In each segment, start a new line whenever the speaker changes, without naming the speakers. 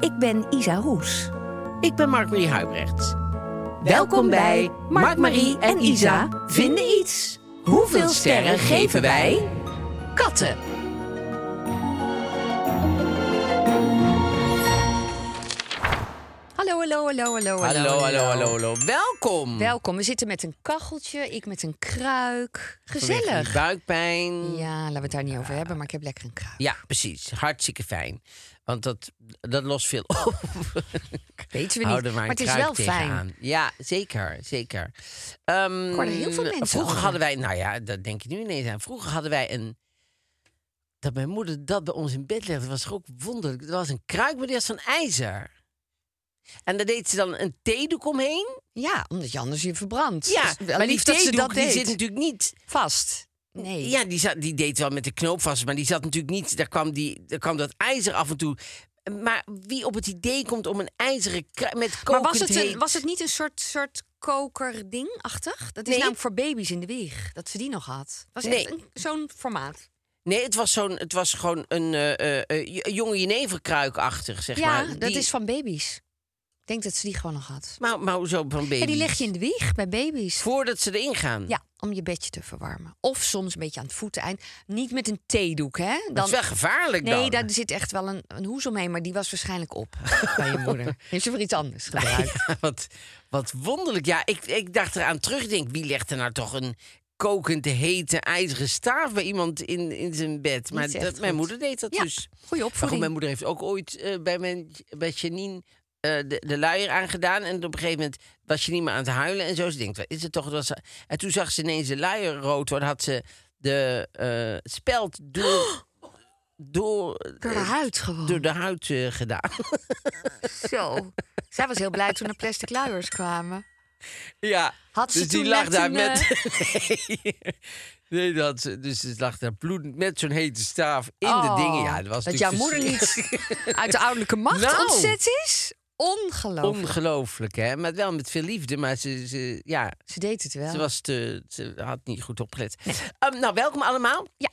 Ik ben Isa Roes.
Ik ben Mark-Marie Huibrecht.
Welkom bij Mark, Marie en Isa vinden iets. Hoeveel sterren geven wij? Katten.
Hallo, hallo, hallo, hallo.
Hallo, hallo, hallo, hallo. Welkom.
Welkom. We zitten met een kacheltje, ik met een kruik.
Vanwege die
Gezellig.
buikpijn.
Ja, laten we het daar niet over hebben, maar ik heb lekker een kruik.
Ja, precies. Hartstikke fijn. Want dat, dat lost veel op.
Weten we
Hou
niet,
er maar een
maar het is
kruik
wel fijn.
tegenaan. Ja, zeker, zeker. Ehm,
Ik hoorde heel veel mensen
Vroeger
over.
hadden wij, nou ja, dat denk je nu ineens aan. Vroeger hadden wij een... Dat mijn moeder dat bij ons in bed legde, was toch ook wonderlijk. Er was een kruik, maar die was van ijzer. En daar deed ze dan een theedoek omheen.
Ja, omdat je anders je verbrandt.
Ja,
Dus wel
maar die
lief dat ze
theedoek
dat
die
deed.
zit natuurlijk niet
vast. Nee.
Ja, die, zat, die deed wel met de knoop vast, maar die zat natuurlijk niet. Daar kwam, die, daar kwam dat ijzer af en toe. Maar wie op het idee komt om een ijzeren kru- met
maar
kokend
was het,
heet-
een, was het niet een soort, soort kokerding-achtig? Dat is
Nee.
namelijk voor baby's in de wieg, dat ze die nog had. Was
Nee.
echt een- zo'n formaat.
Nee, het was, zo'n, het was gewoon een eh, eh, eh, jonge jeneverkruikachtig, zeg
ja,
maar.
dat
Die-
is van baby's. Ik denk dat ze die gewoon nog had.
Maar, maar hoezo van baby?
Ja, die leg je in de wieg bij baby's.
Voordat ze erin gaan.
Ja, om je bedje te verwarmen. Of soms een beetje aan het voeteneind. Niet met een theedoek, hè? Dan...
dat is wel gevaarlijk dan.
Nee, daar zit echt wel een, een hoes omheen, maar die was waarschijnlijk op bij je moeder. Heeft ze voor iets anders gebruikt?
Ja, wat, wat wonderlijk. Ja, ik, ik dacht eraan terug. Ik Denk, wie legt er nou toch een kokend hete ijzeren staaf bij iemand in, in zijn bed? Maar
Niet echt
dat, mijn
goed.
moeder deed dat
Ja,
dus.
goeie
Maar goed,
opvoeding.
mijn moeder heeft ook ooit eh, bij, mijn, bij Janine eh, de, de luier aangedaan. En op een gegeven moment was Janine maar aan het huilen. En zo ze denkt, wat is het toch? Het was, en toen zag ze ineens de luier rood worden. Had ze de eh, speld door... Door,
Door de
eh,
huid gewoon.
door de huid eh, gedaan.
Zo. Zij was heel blij toen er plastic luiers kwamen.
Ja.
Had ze
dus die
toen
lag
net
daar
een, eh,
met. nee. nee, dat had ze. Dus ze lag daar bloedend met zo'n hete staaf in
Oh,
de dingen. Ja, dat was
dat jouw
natuurlijk dus
moeder niet
verschrikkelijk.
uit de ouderlijke macht
Nou.
ontzet is? Ongelooflijk.
Ongelooflijk, hè? Maar wel met veel liefde. Maar ze, ze, ja,
ze deed het wel.
ze, was te, ze had niet goed opgelet. Ehm, nou, welkom allemaal.
Ja.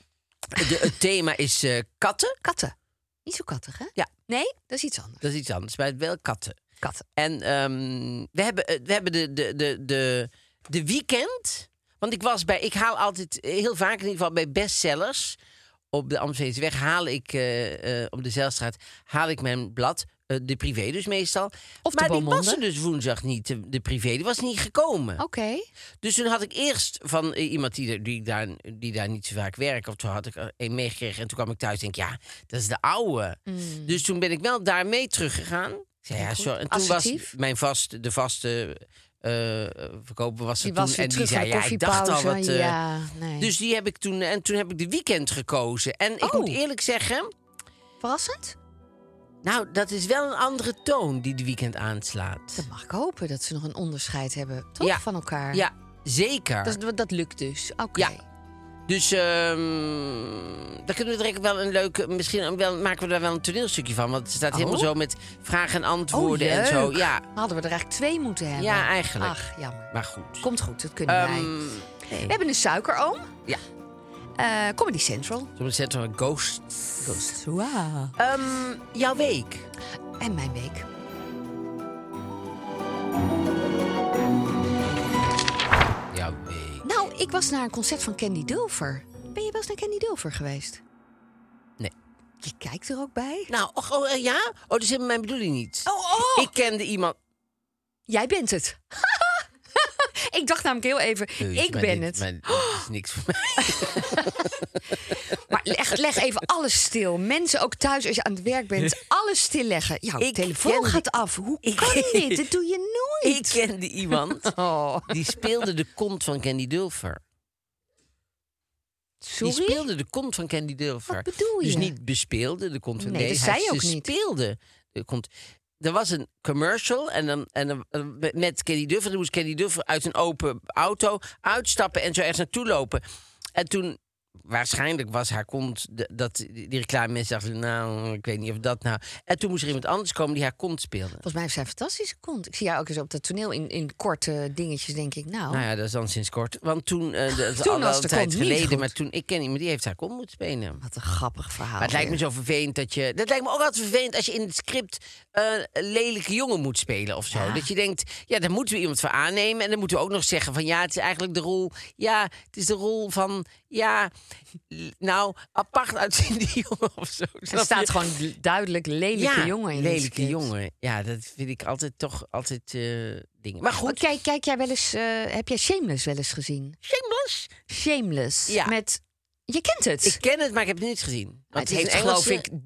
De, het thema is eh, katten.
Katten. Niet zo kattig, hè?
Ja.
Nee, dat is iets anders.
Dat is iets anders, maar wel katten.
Katten.
En ehm, we hebben, eh, we hebben de, de, de, de, de weekend. Want ik was bij, ik haal altijd eh, heel vaak in ieder geval bij bestsellers. Op de Amsterdamseweg haal ik, eh, eh, op de Zeilstraat, haal ik mijn blad. eh, de privé dus meestal.
Of de
maar die was
Beaumonde.
er dus woensdag niet, de, de privé. Die was niet gekomen.
Oké.
Dus toen had ik eerst van eh, iemand die, er- die, daar, die daar niet zo vaak werkt, of toen had ik er een meegekregen. En toen kwam ik thuis en denk, ja, dat is de oude. Dus toen ben ik wel daarmee teruggegaan. Ik zei, ja,
Mm. goed.
sorry. En toen
Assertief.
was mijn vaste, de vaste eh, eh, verkoper was er
Die
toen.
was weer
en die
terug
zei,
naar
ja,
de
ik dacht al wat.
koffiepauze.
eh,
Ja, nee.
Dus die heb ik toen, en toen heb ik de weekend gekozen. En ik
Oh.
moet eerlijk zeggen,
Verrassend?
nou, dat is wel een andere toon die de weekend aanslaat.
Dan mag ik hopen dat ze nog een onderscheid hebben, toch?
Ja.
Van elkaar.
Ja, zeker.
Dat, dat lukt dus. Oké.
Ja. Dus ehm daar kunnen we direct wel een leuke. Misschien wel, maken we daar wel een toneelstukje van. Want het staat
Oh.
helemaal zo met vragen en
Oh,
antwoorden en zo.
leuk.
Ja,
Hadden we er eigenlijk twee moeten hebben.
Ja, eigenlijk.
Ach, jammer.
maar goed.
Komt goed, dat kunnen wij. We
Ehm
hebben een suikeroom.
Ja.
Eh, Comedy Central.
Soms zetten we een ghost.
Wow.
Ehm, jouw week.
En mijn week.
Jouw week.
Nou, ik was naar een concert van Candy Dulfer. Ben je wel eens naar Candy Dulfer geweest?
Nee.
Je kijkt er ook bij.
Nou, och, oh, eh, ja? Oh, dat is helemaal mijn bedoeling niet.
Oh, oh!
Ik kende iemand...
Jij bent het. ik dacht namelijk heel even,
Jeetje,
ik
maar
ben
dit-
het.
maar dit is niks voor mij.
Maar leg, leg even alles stil. Mensen ook thuis, als je aan het werk bent, alles stilleggen. Jouw
Ik ken
telefoon
die-
gaat af. Hoe
Ik-
kan dit? Dit doe je nooit.
Ik kende iemand
Oh,
die speelde de kont van Candy Dulfer.
sorry?
Die speelde de kont van Candy Dulfer.
Wat bedoel
Dus
je?
niet bespeelde de kont van
Nee, dat
hij
zei je ook niet.
speelde de kont. Er was een commercial en dan, en dan eh, met Candy Dulfer. Dan moest Candy Dulfer uit een open auto uitstappen en zo ergens naartoe lopen. En toen, waarschijnlijk was haar kont... de- Dat, die reclame mensen dachten, nou, ik weet niet of dat nou... En toen moest er iemand anders komen die haar kont speelde.
Volgens mij heeft zij een fantastische kont. Ik zie haar ook eens op dat toneel in, in korte dingetjes, denk ik. Nou,
Nou ja, dat is dan sinds kort. Want toen, eh, dat is
Toen
al
was
wel
de
een tijd
kont niet
geleden,
goed.
maar toen... Ik ken iemand, die heeft haar kont moeten spelen.
wat een grappig verhaal.
Maar het lijkt me
weer.
zo vervelend dat je. Dat lijkt me ook altijd vervelend als je in het script eh, een lelijke jongen moet spelen of zo. Dat je denkt, ja, daar moeten we iemand voor aannemen. En dan moeten we ook nog zeggen van ja, het is eigenlijk de rol. Ja, het is de rol van ja, l- nou, apart uitziende jongen of zo.
Er staat gewoon duidelijk lelijke
ja,
jongen in die
Lelijke
script.
jongen. Ja, dat vind ik altijd toch altijd eh, dingen. Maar
Maar
goed,
Oh, kijk, kijk jij wel eens, eh, heb jij Shameless wel eens gezien?
shameless.
Shameless.
Ja.
Met, je kent het.
Ik ken het, maar ik heb het niet gezien. Want
het heeft
een
geloof
Engelse-
ik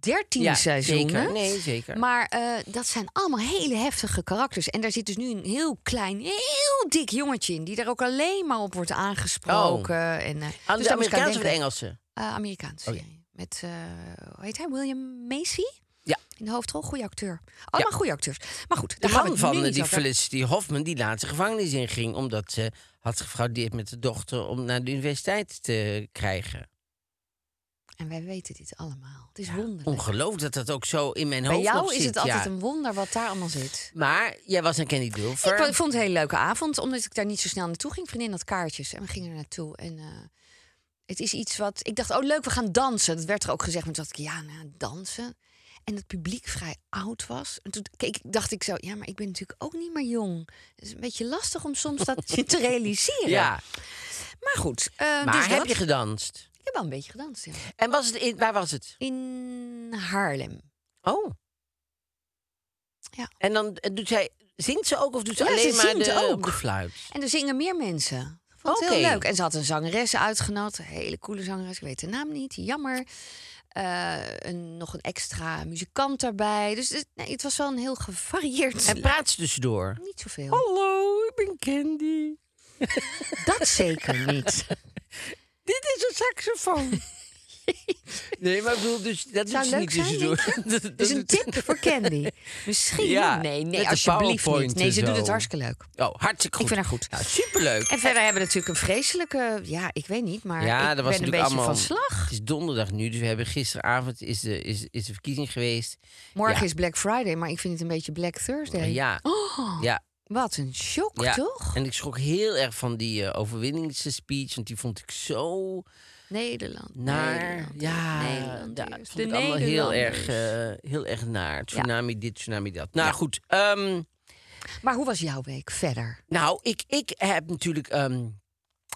13
Ja,
seizoenen.
zeker. Nee, zeker.
Maar eh, dat zijn allemaal hele heftige karakters. En daar zit dus nu een heel klein, heel dik jongetje in... die daar ook alleen maar op wordt aangesproken. En, eh, dus daar
Oh. aan
moest ik
de Amerikaanse of de
denken.
Engelse?
Eh, Amerikaans.
Oh ja.
serie. Met, eh, hoe heet hij, William Macy?
Ja.
In de hoofdrol, goede acteur. Allemaal goede acteurs. Maar goed,
De
daar gaan we
man
het
van
nu
eh,
niet
die
over.
Felicity Hoffman die laatste gevangenis inging... omdat ze had gefraudeerd met de dochter om naar de universiteit te krijgen.
En wij weten dit allemaal. Het is wonderlijk.
Ongelooflijk dat dat ook zo in mijn
Bij
hoofd nog
jou is
zit,
het altijd
ja.
een wonder wat daar allemaal zit.
Maar jij was een Kenny Dulfer.
Ik wa- vond het een hele leuke avond, omdat ik daar niet zo snel naartoe ging. Vriendin had kaartjes en we gingen er naartoe. En eh, het is iets wat... Ik dacht, oh leuk, we gaan dansen. Dat werd er ook gezegd, maar toen dacht ik, ja, nou, dansen. En het publiek vrij oud was. En toen keek, ik- dacht ik zo, ja, maar ik ben natuurlijk ook niet meer jong. Het is een beetje lastig om soms dat te realiseren.
ja,
Maar goed, eh,
maar
Oh, dus
heb
dat.
je gedanst?
Ik heb wel een beetje gedanst, ja.
En was het in, waar was het?
In Haarlem.
Oh.
Ja.
En dan eh, doet zij, zingt ze ook of doet ze
Ja,
alleen
ze
maar
zingt
de, op
ook.
de fluit?
En er zingen meer mensen. Ik Vond het
Oké.
heel leuk. En ze had een zangeres uitgenodigd. Een hele coole zangeres. Ik weet de naam niet. Jammer. Eh, een, nog een extra muzikant daarbij. Dus het, nee, het was wel een heel gevarieerd.
En Oh, praat ze tussendoor?
niet zoveel.
Hallo, ik ben Candy.
Dat zeker niet.
Dit is een saxofoon. nee, maar ik bedoel, dus, dat
Zou
doet ze
leuk zijn,
niet tussendoor.
denk je?
Dat- dat
Dus een
doet-
tip voor Candy. Misschien.
Ja,
nee,
met
nee
de
alsjeblieft niet.
PowerPoint
Nee, ze
en
doet
zo.
het hartstikke leuk.
Oh, hartstikke goed.
Ik vind haar goed.
Nou, superleuk.
En verder hebben we natuurlijk een vreselijke... Ja, ik weet niet, maar
ja,
ik
dat was
ben een
natuurlijk
beetje
allemaal...
van slag.
Het is donderdag nu, dus we hebben gisteravond is de, is, is de verkiezing geweest.
Morgen
Ja.
is Black Friday, maar ik vind het een beetje Black Thursday.
Ja. ja.
Wat een shock,
ja.
Oh, toch?
En ik schrok heel erg van die eh, overwinningsspeech, want die vond ik zo
Nederland.
naar.
Nederland,
ja,
Nederland.
ja,
eerst.
vond ik allemaal heel erg, eh, heel erg naar. Tsunami dit, tsunami dat. Nou goed, ehm,
Maar hoe was jouw week verder?
Nou, ik, ik heb natuurlijk. ehm,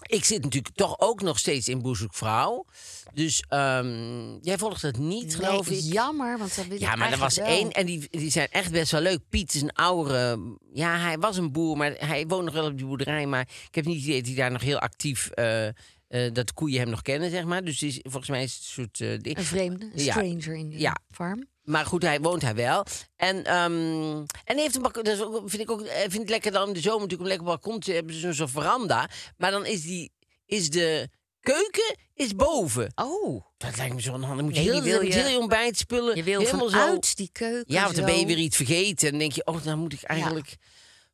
ik zit natuurlijk toch ook nog steeds in Boezek Vrouw. Dus ehm, jij volgt het niet, geloof
Nee,
ik.
Jammer, want dat wil ik
Ja, maar er was
eigenlijk wel.
één en die, die zijn echt best wel leuk. Piet is een oude... Ja, hij was een boer, maar hij woont nog wel op die boerderij. Maar ik heb niet het idee dat hij daar nog heel actief... eh, eh, dat de koeien hem nog kennen, zeg maar. Dus die is, volgens mij is het een soort... eh, ding.
Een vreemde, een
Ja.
stranger in de
Ja.
farm.
Maar goed, hij woont hij wel. En, ehm, en hij heeft een balkon. Dat is ook- vind ik ook eh, vind het lekker dan in de zomer natuurlijk om lekker op het balkon te hebben. Zo'n soort veranda. Maar dan is, die, is de keuken is boven.
Oh,
Dat lijkt me zo onhandig. Dan Moet je
Nee,
heel,
die wil
wil je,
je-
heel je ontbijtspullen.
je wil
helemaal
vanuit
zo.
die keuken.
Ja, want dan
zo.
ben je weer iets vergeten. En dan denk je, oh, dan moet ik eigenlijk...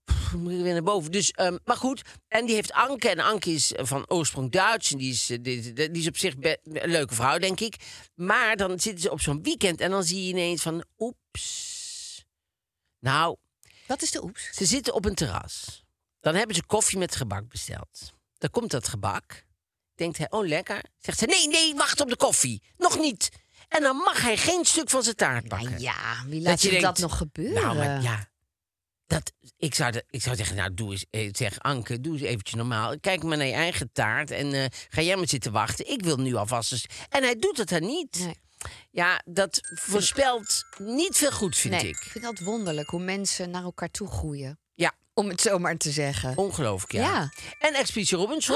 Pff, dan moet ik weer naar boven. Dus, ehm, maar goed, en die heeft Anke. En Anke is eh, van oorsprong Duits. En die is, eh, die, die die is op zich be- een leuke vrouw, denk ik. Maar dan zitten ze op zo'n weekend en dan zie je ineens van... Oeps. Nou,
Wat is de oeps?
ze zitten op een terras. Dan hebben ze koffie met gebak besteld. Dan komt dat gebak. Denkt hij, oh lekker. Zegt ze, nee, nee, wacht op de koffie. Nog niet. En dan mag hij geen stuk van zijn taart
Nou
bakken.
ja, wie laat
je
je dat
denkt,
nog gebeuren?
Nou, maar ja. Dat, ik, zou dat, ik zou zeggen, nou, doe eens, eh, zeg Anke, doe eens eventjes normaal. Kijk maar naar je eigen taart en eh, ga jij maar zitten wachten. Ik wil nu alvast eens... En hij doet het dan niet.
Nee.
Ja, dat voorspelt niet veel goed, vind
nee,
ik.
vind dat wonderlijk hoe mensen naar elkaar toe groeien.
Ja,
Om het zomaar te zeggen.
ongelooflijk, ja.
Ja. Oh,
En Expeditie Robinson.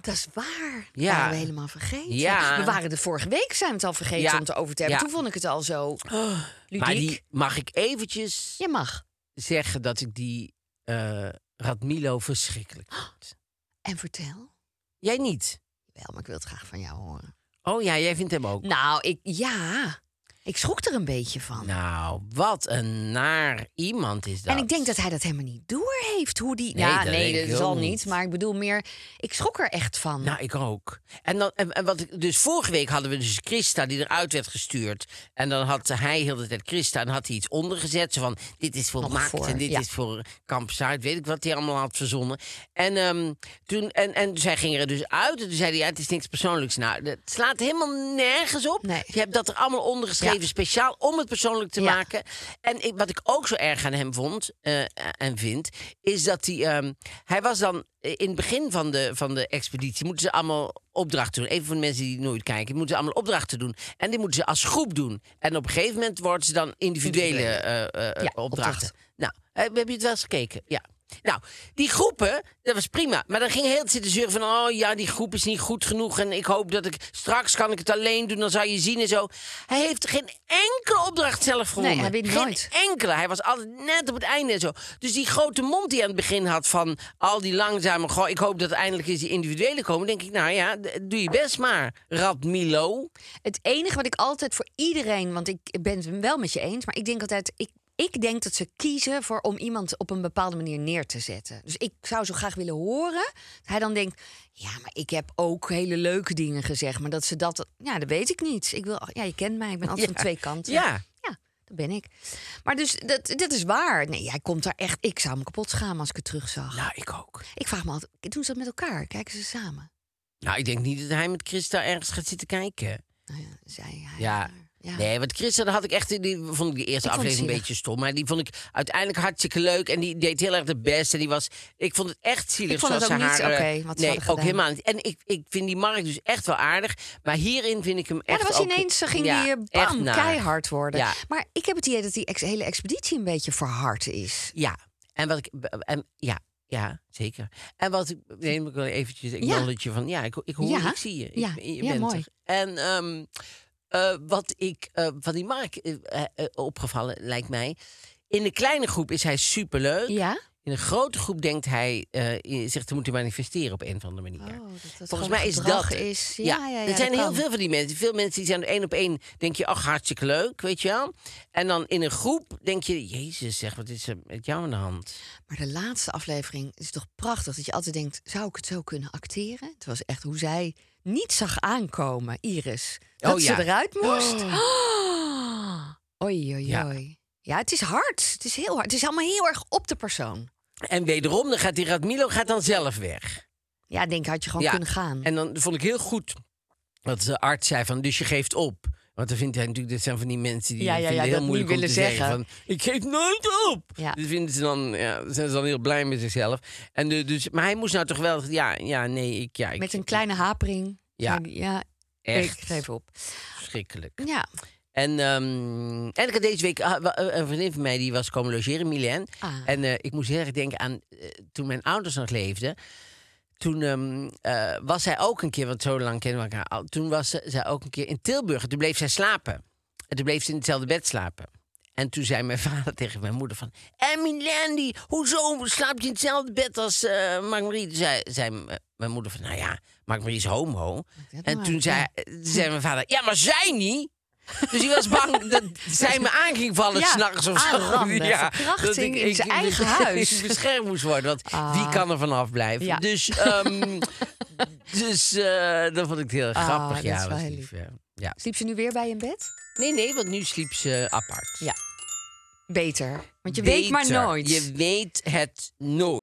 Dat is waar.
Ja.
Dat waren we helemaal vergeten.
Ja.
We waren de vorige week zijn we het al vergeten
Ja.
om het over te hebben.
Ja.
Toen vond ik het al zo ludiek.
maar die mag ik eventjes
Je mag.
zeggen dat ik die eh, Radmilo verschrikkelijk
Oh.
vind.
En vertel.
Jij niet?
Wel, maar ik wil het graag van jou horen.
Oh ja, jij vindt hem ook.
Nou, ik, ja. Ik schrok er een beetje van.
Nou, wat een naar iemand is dat.
En ik denk dat hij dat helemaal niet door heeft. Hoe die.
Nee,
ja,
dat denk
nee,
ik
dat
ook
zal
niet.
niet. Maar ik bedoel meer. Ik schrok er echt van.
Nou, ik ook. En, dan, en, en wat ik, dus vorige week hadden we dus Christa die eruit werd gestuurd. En dan had hij heel de tijd Christa en had hij iets ondergezet. Zo van, dit is voor
Nog
Maakt
voor,
en dit
ja.
is voor Kamp Zuid. Weet ik wat hij allemaal had verzonnen. En, ehm, toen, en, en zij ging er dus uit. En toen zei hij, ja, het is niks persoonlijks. Nou, dat slaat helemaal nergens op.
Nee.
Je hebt dat er allemaal ondergeschreven,
Ja.
speciaal om het persoonlijk te
Ja.
maken. En ik, wat ik ook zo erg aan hem vond eh, en vind, is dat hij. ehm, hij was dan eh, in het begin van de, van de expeditie. Moeten ze allemaal opdrachten doen. Even voor de mensen die nooit kijken. Moeten ze allemaal opdrachten doen. En die moeten ze als groep doen. En op een gegeven moment worden ze dan individuele eh, eh, opdrachten.
opdrachten.
Nou, eh, heb je het wel eens gekeken? Ja. Nou, die groepen, dat was prima. Maar dan ging heel het zitten zeuren van... oh ja, die groep is niet goed genoeg... en ik hoop dat ik... straks kan ik het alleen doen, dan zou je zien en zo. Hij heeft geen enkele opdracht zelf gewonnen.
hij wint
geen
nooit.
enkele. Hij was altijd net op het einde en zo. Dus die grote mond die hij aan het begin had van... al die langzame... goh, ik hoop dat eindelijk eens die individuele komen... denk ik, nou ja, d- doe je best maar, Rad Milo.
Het enige wat ik altijd voor iedereen, want ik ben het wel met je eens, maar ik denk altijd, ik, ik denk dat ze kiezen voor om iemand op een bepaalde manier neer te zetten. Dus ik zou zo graag willen horen dat hij dan denkt, ja, maar ik heb ook hele leuke dingen gezegd, maar dat ze dat, ja, dat weet ik niet. Ik wil, ja, je kent mij, ik ben altijd
Ja.
van twee kanten.
Ja.
ja, dat ben ik. Maar dus dat, dat is waar. Nee, jij komt daar echt. Ik zou me kapot schamen als ik het terugzag.
Nou, ik ook.
Ik vraag me altijd, doen ze dat met elkaar? Kijken ze samen?
Nou, ik denk niet dat hij met Christa ergens gaat zitten kijken.
Nou ja, zij, hij,
Ja.
haar. ja.
Nee, want Christa, daar had ik echt, die vond ik de eerste
Ik vond
aflevering een
het
beetje stom. Maar die vond ik uiteindelijk hartstikke leuk. En die deed heel erg de best. En die was, ik vond het echt zielig.
Ik vond het
zoals
ook
ze
niet
haar, eh,
oké wat ze
Nee, ook
hadden gedaan.
helemaal niet. En ik, ik vind die Mark dus echt wel aardig. Maar hierin vind ik hem echt
Ja, dat was
ook-
ineens, ze ging
ja,
die eh,
echt
bam,
naar.
keihard worden.
Ja.
Maar ik heb het idee dat die ex- hele expeditie een beetje verhard is.
Ja, en wat ik. En, ja, ja, zeker. En wat ik. Neem ik wel eventjes. Ik
Ja.
je van. Ja, ik, ik hoor,
Ja.
ik zie je. Ik,
Ja.
Je
Ja,
bent
mooi.
er. En ehm, eh, wat ik eh, van die Mark eh, eh, opgevallen lijkt mij. In de kleine groep is hij superleuk.
Ja?
In een grote groep denkt hij eh, in- zich te moeten manifesteren op een of andere manier.
Oh, dat dat
Volgens
gewoon
mij is
gedrag
dat. het.
is- ja, ja, ja,
er
dat
zijn heel
kan.
veel van die mensen. Veel mensen die zijn één op één. Denk je, ach, hartstikke leuk, weet je wel. En dan in een groep denk je, Jezus, zeg, wat is er met jou aan de hand?
Maar de laatste aflevering is toch prachtig dat je altijd denkt: zou ik het zo kunnen acteren? Het was echt hoe zij niet zag aankomen, Iris. Dat
Oh,
ze
ja.
eruit moest. Oh. Oei, oei,
Ja.
oei. Ja, het is hard. Het is heel hard. Het is allemaal heel erg op de persoon.
En wederom, dan gaat die Radmilo gaat dan zelf weg.
Ja, ik denk had je gewoon
Ja.
kunnen gaan.
En dan vond ik heel goed wat de arts zei van, dus je geeft op. Want dan vindt hij natuurlijk, dat zijn van die mensen die
Ja, ja,
vinden
ja,
heel
dat niet
moeilijk om te
willen
zeggen.
zeggen.
van, ik geef nooit op.
Ja.
Dus vinden ze dan, ja, zijn ze dan heel blij met zichzelf. En de- dus, maar hij moest nou toch wel, ja, ja nee, ik, ja, ik,
Met een kleine hapering.
Ja.
ja
echt
ik geef op.
verschrikkelijk.
Ja.
En, ehm, en ik had deze week ah, wa- eh, een vriendin van mij die was komen logeren, Milan.
Ah.
En eh, ik moest heel erg denken aan eh, toen mijn ouders nog leefden. Toen ehm, eh, was zij ook een keer, want zo lang kennen we elkaar al. Toen was ze- zij ook een keer in Tilburg. En Toen bleef zij slapen. En toen bleef ze in hetzelfde bed slapen. En toen zei mijn vader tegen mijn moeder van... En Milan, die, hoezo slaapt je in hetzelfde bed als eh Mark-Marie? Toen zei, zei m- mijn moeder van, nou ja, Mark-Marie is homo.
dat
En
nou
toen
uit,
zei, zei mijn vader, ja, maar zij niet. Dus ik was bang dat zij me aan ging vallen
Ja,
s'nachts of zo.
aanranden, verkrachting in zijn eigen huis. Ah.
beschermd moest worden, want wie kan er vanaf blijven?
Ja.
Dus, ehm dus eh, dat vond ik heel
Ah,
grappig.
dat
ja,
is wel
was
heel
lief, ja. ja.
Sliep ze nu weer bij je in bed?
Nee, nee, want nu sliep ze apart.
Ja. Beter. Want je weet
Beter.
maar nooit.
Je weet het nooit.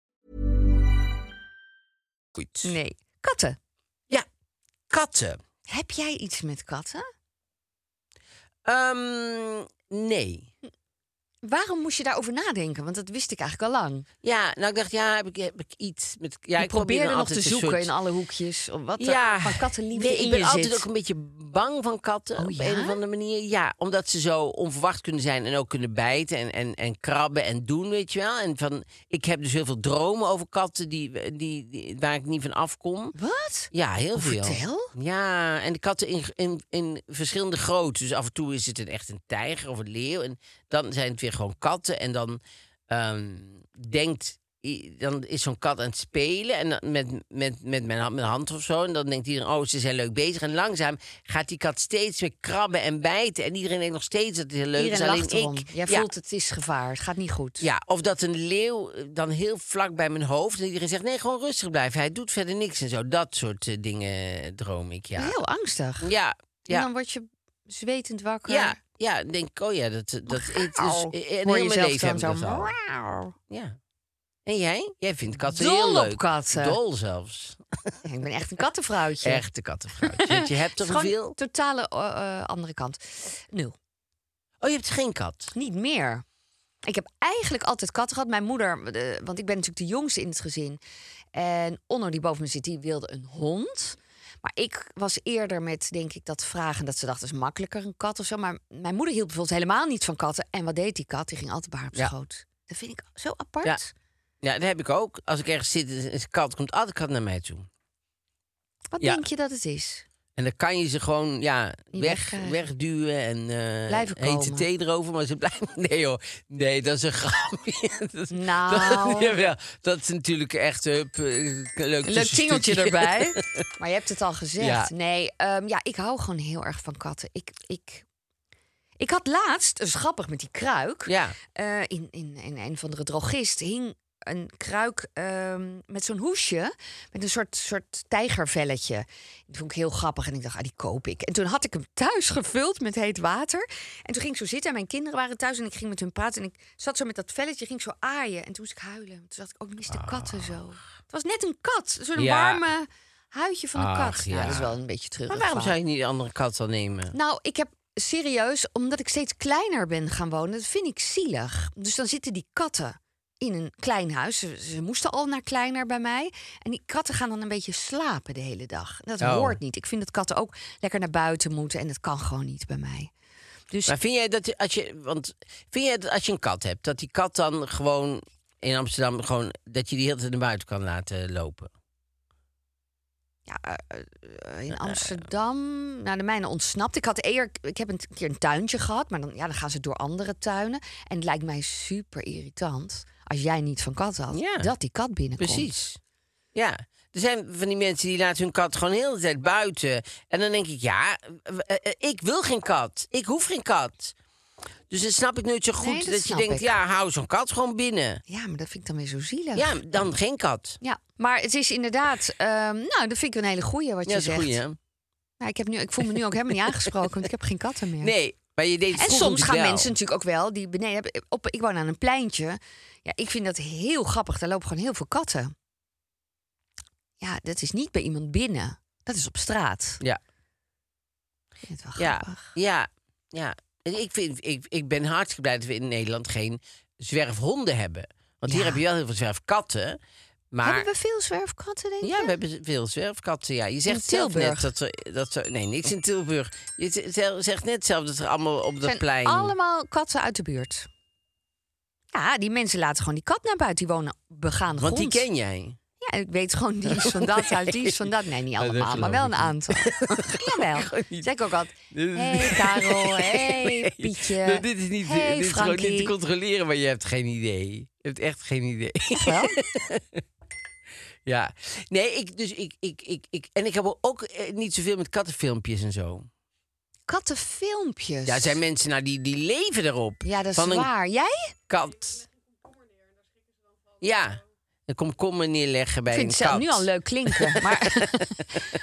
Goed.
Nee. Katten.
Ja, katten.
Heb jij iets met katten?
Ehm, nee.
Waarom moest je daarover nadenken? Want dat wist ik eigenlijk al lang.
Ja, nou ik dacht, ja, heb ik, heb ik iets met... Ja,
ik probeerde
dan
nog te
altijd een
zoeken
soort-
in alle hoekjes. Of wat
ja,
er van kattenliefde
nee,
in
ik ben
je
altijd
zit.
ook een beetje bang van katten
Oh,
op
ja?
een of andere manier. Ja, omdat ze zo onverwacht kunnen zijn en ook kunnen bijten en, en, en krabben en doen, weet je wel. En van, ik heb dus heel veel dromen over katten die, die, die- waar ik niet van afkom.
Wat?
Ja, heel veel.
Vertel.
Ja, en de katten in, in, in verschillende groottes. Dus af en toe is het een, echt een tijger of een leeuw. En dan zijn het weer gewoon katten. En dan ehm, denkt... i- Dan is zo'n kat aan het spelen en dan met, met, met mijn hand, mijn hand of zo. En dan denkt iedereen, oh, ze zijn leuk bezig. En langzaam gaat die kat steeds weer krabben en bijten. En iedereen denkt nog steeds dat het heel leuk
Iedereen
is.
lacht
Alleen
erom.
ik.
Jij
Ja.
voelt het is gevaar. Het gaat niet goed.
Ja, of dat een leeuw eh, dan heel vlak bij mijn hoofd... en iedereen zegt, nee, gewoon rustig blijven. Hij doet verder niks en zo. Dat soort eh, dingen droom ik, ja.
Heel angstig.
Ja,
En
ja,
dan word je zwetend wakker.
ja. Ja, dan denk ik, oh ja, dat, dat het is...
Au.
En heel
Hoor
mijn
jezelf
leven heb ik
dan
dat
zo.
al.
"Wauw."
Ja. En jij? Jij vindt katten
Dol
heel
op
leuk.
katten.
Dol zelfs.
Ik ben echt een kattenvrouwtje.
Echte kattenvrouwtje. Want je hebt
Het is
er
gewoon
veel...
totale eh, eh, andere kant. Nul.
Oh, je hebt geen kat.
Niet meer. Ik heb eigenlijk altijd katten gehad. Mijn moeder, eh, want ik ben natuurlijk de jongste in het gezin. En Onno, die boven me zit, die wilde een hond. Maar ik was eerder met, denk ik, dat vragen dat ze dacht, dat is makkelijker een kat of zo. Maar mijn moeder hield bijvoorbeeld helemaal niet van katten. En wat deed die kat? Die ging altijd bij haar op
Ja.
schoot. Dat vind ik zo apart.
Ja. Ja, dat heb ik ook. Als ik ergens zit, is is een kat, komt altijd kat naar mij toe.
Wat
Ja.
denk je dat het is?
En dan kan je ze gewoon ja,
Niet
weg,
wegkrijgen.
wegduwen en eh
Blijven
hete
komen.
thee erover. Maar ze blijven... Nee joh, nee, dat is een grapje. Dat,
Nou.
Dat, jawel, dat is natuurlijk echt hup, eh, leuk,
Een leuk
tussentukje.
tingeltje erbij. maar je hebt het al gezegd.
Ja.
Nee, ehm, ja, ik hou gewoon heel erg van katten. Ik, ik, ik had laatst, dat is grappig met die kruik.
Ja.
eh, in, in, in een van de drogist hing een kruik ehm, met zo'n hoesje. Met een soort, soort tijgervelletje. Dat vond ik heel grappig. En ik dacht, ah, die koop ik. En toen had ik hem thuis gevuld met heet water. En toen ging ik zo zitten. En mijn kinderen waren thuis. En ik ging met hun praten. En ik zat zo met dat velletje. Ging ik zo aaien. En toen moest ik huilen. Toen dacht ik, oh, ik mis de katten zo. Het was net een kat. Zo'n
Ah. Ja.
warme huidje van een kat.
Ach,
Ja,
ja.
dat is wel een beetje terug.
Maar waarom zou je niet een andere kat dan nemen?
Nou, ik heb serieus, omdat ik steeds kleiner ben gaan wonen, dat vind ik zielig. Dus dan zitten die katten in een klein huis. Ze, ze moesten al naar kleiner bij mij. En die katten gaan dan een beetje slapen de hele dag. Dat
Oh.
hoort niet. Ik vind dat katten ook lekker naar buiten moeten en dat kan gewoon niet bij mij. Dus
Maar vind jij dat als je, want vind jij dat als je een kat hebt, dat die kat dan gewoon in Amsterdam gewoon dat je die hele tijd naar buiten kan laten lopen?
ja, eh, eh, in Amsterdam, nou de mijne ontsnapt. Ik had eerder, ik heb een t- keer een tuintje gehad, maar dan, ja, dan gaan ze door andere tuinen. En het lijkt mij super irritant als jij niet van kat had,
Ja.
dat die kat binnenkomt.
Precies. Ja. Er zijn van die mensen die laten hun kat gewoon de hele tijd buiten. En dan denk ik, ja, eh, eh, eh, ik wil geen kat. Ik hoef geen kat. Dus dan snap ik nooit zo goed
Nee, dat
dat, je
snap
denkt,
ik.
ja, hou zo'n kat gewoon binnen.
Ja, maar dat vind ik dan weer zo zielig.
Ja, dan geen kat.
Ja, maar het is inderdaad... ehm, nou, dat vind ik een hele goeie wat
Ja,
je
dat is
zegt.
goed, hè?
Maar ik, heb nu, ik voel me nu ook helemaal niet aangesproken, want ik heb geen katten meer.
Nee, maar je deed het
En
vroeger
soms gaan
natuurlijk wel.
mensen natuurlijk ook wel die beneden hebben. Op, ik woon aan een pleintje. Ja, ik vind dat heel grappig. Daar lopen gewoon heel veel katten. Ja, dat is niet bij iemand binnen. Dat is op straat.
Ja,
Ik vind het wel
ja,
grappig.
ja, ja. En Ik, vind, ik, ik ben hartstikke blij dat we in Nederland geen zwerfhonden hebben. Want hier
Ja.
heb je wel heel veel zwerfkatten. Maar
Hebben we veel zwerfkatten, denk
Ja,
je?
we hebben veel zwerfkatten. Ja. Je zegt zelf
Tilburg.
net dat er, dat er... Nee, niks in Tilburg. Je z- zelf- zegt net zelf dat er allemaal op dat
zijn
plein...
allemaal katten uit de buurt. Ja, die mensen laten gewoon die kat naar buiten. Die wonen op begaande
Want die
grond.
ken jij.
Ja, ik weet gewoon, die is van dat huis, die is van dat. Nee, niet
dat
allemaal, maar
geloof
wel
ik
een aantal. Jawel.
Gewoon niet.
Zeg ik ook altijd,
Dit is-
hey Karel, hey
Nee.
Pietje,
Nou, dit is, niet,
hey
dit is gewoon
Frankie.
niet te controleren, maar je hebt geen idee. Je hebt echt geen idee.
Wel?
Ja. Nee, ik, dus ik, ik, ik, ik... En ik heb ook eh, niet zoveel met kattenfilmpjes en zo.
Kattenfilmpjes.
Ja, er zijn mensen nou, die, die leven erop.
Dus- Ja, dat is
Van een
waar. Jij?
kat. Ja, een komkommer neerleggen bij
Ik vind het
een
zelf
kat.
nu al leuk klinken, maar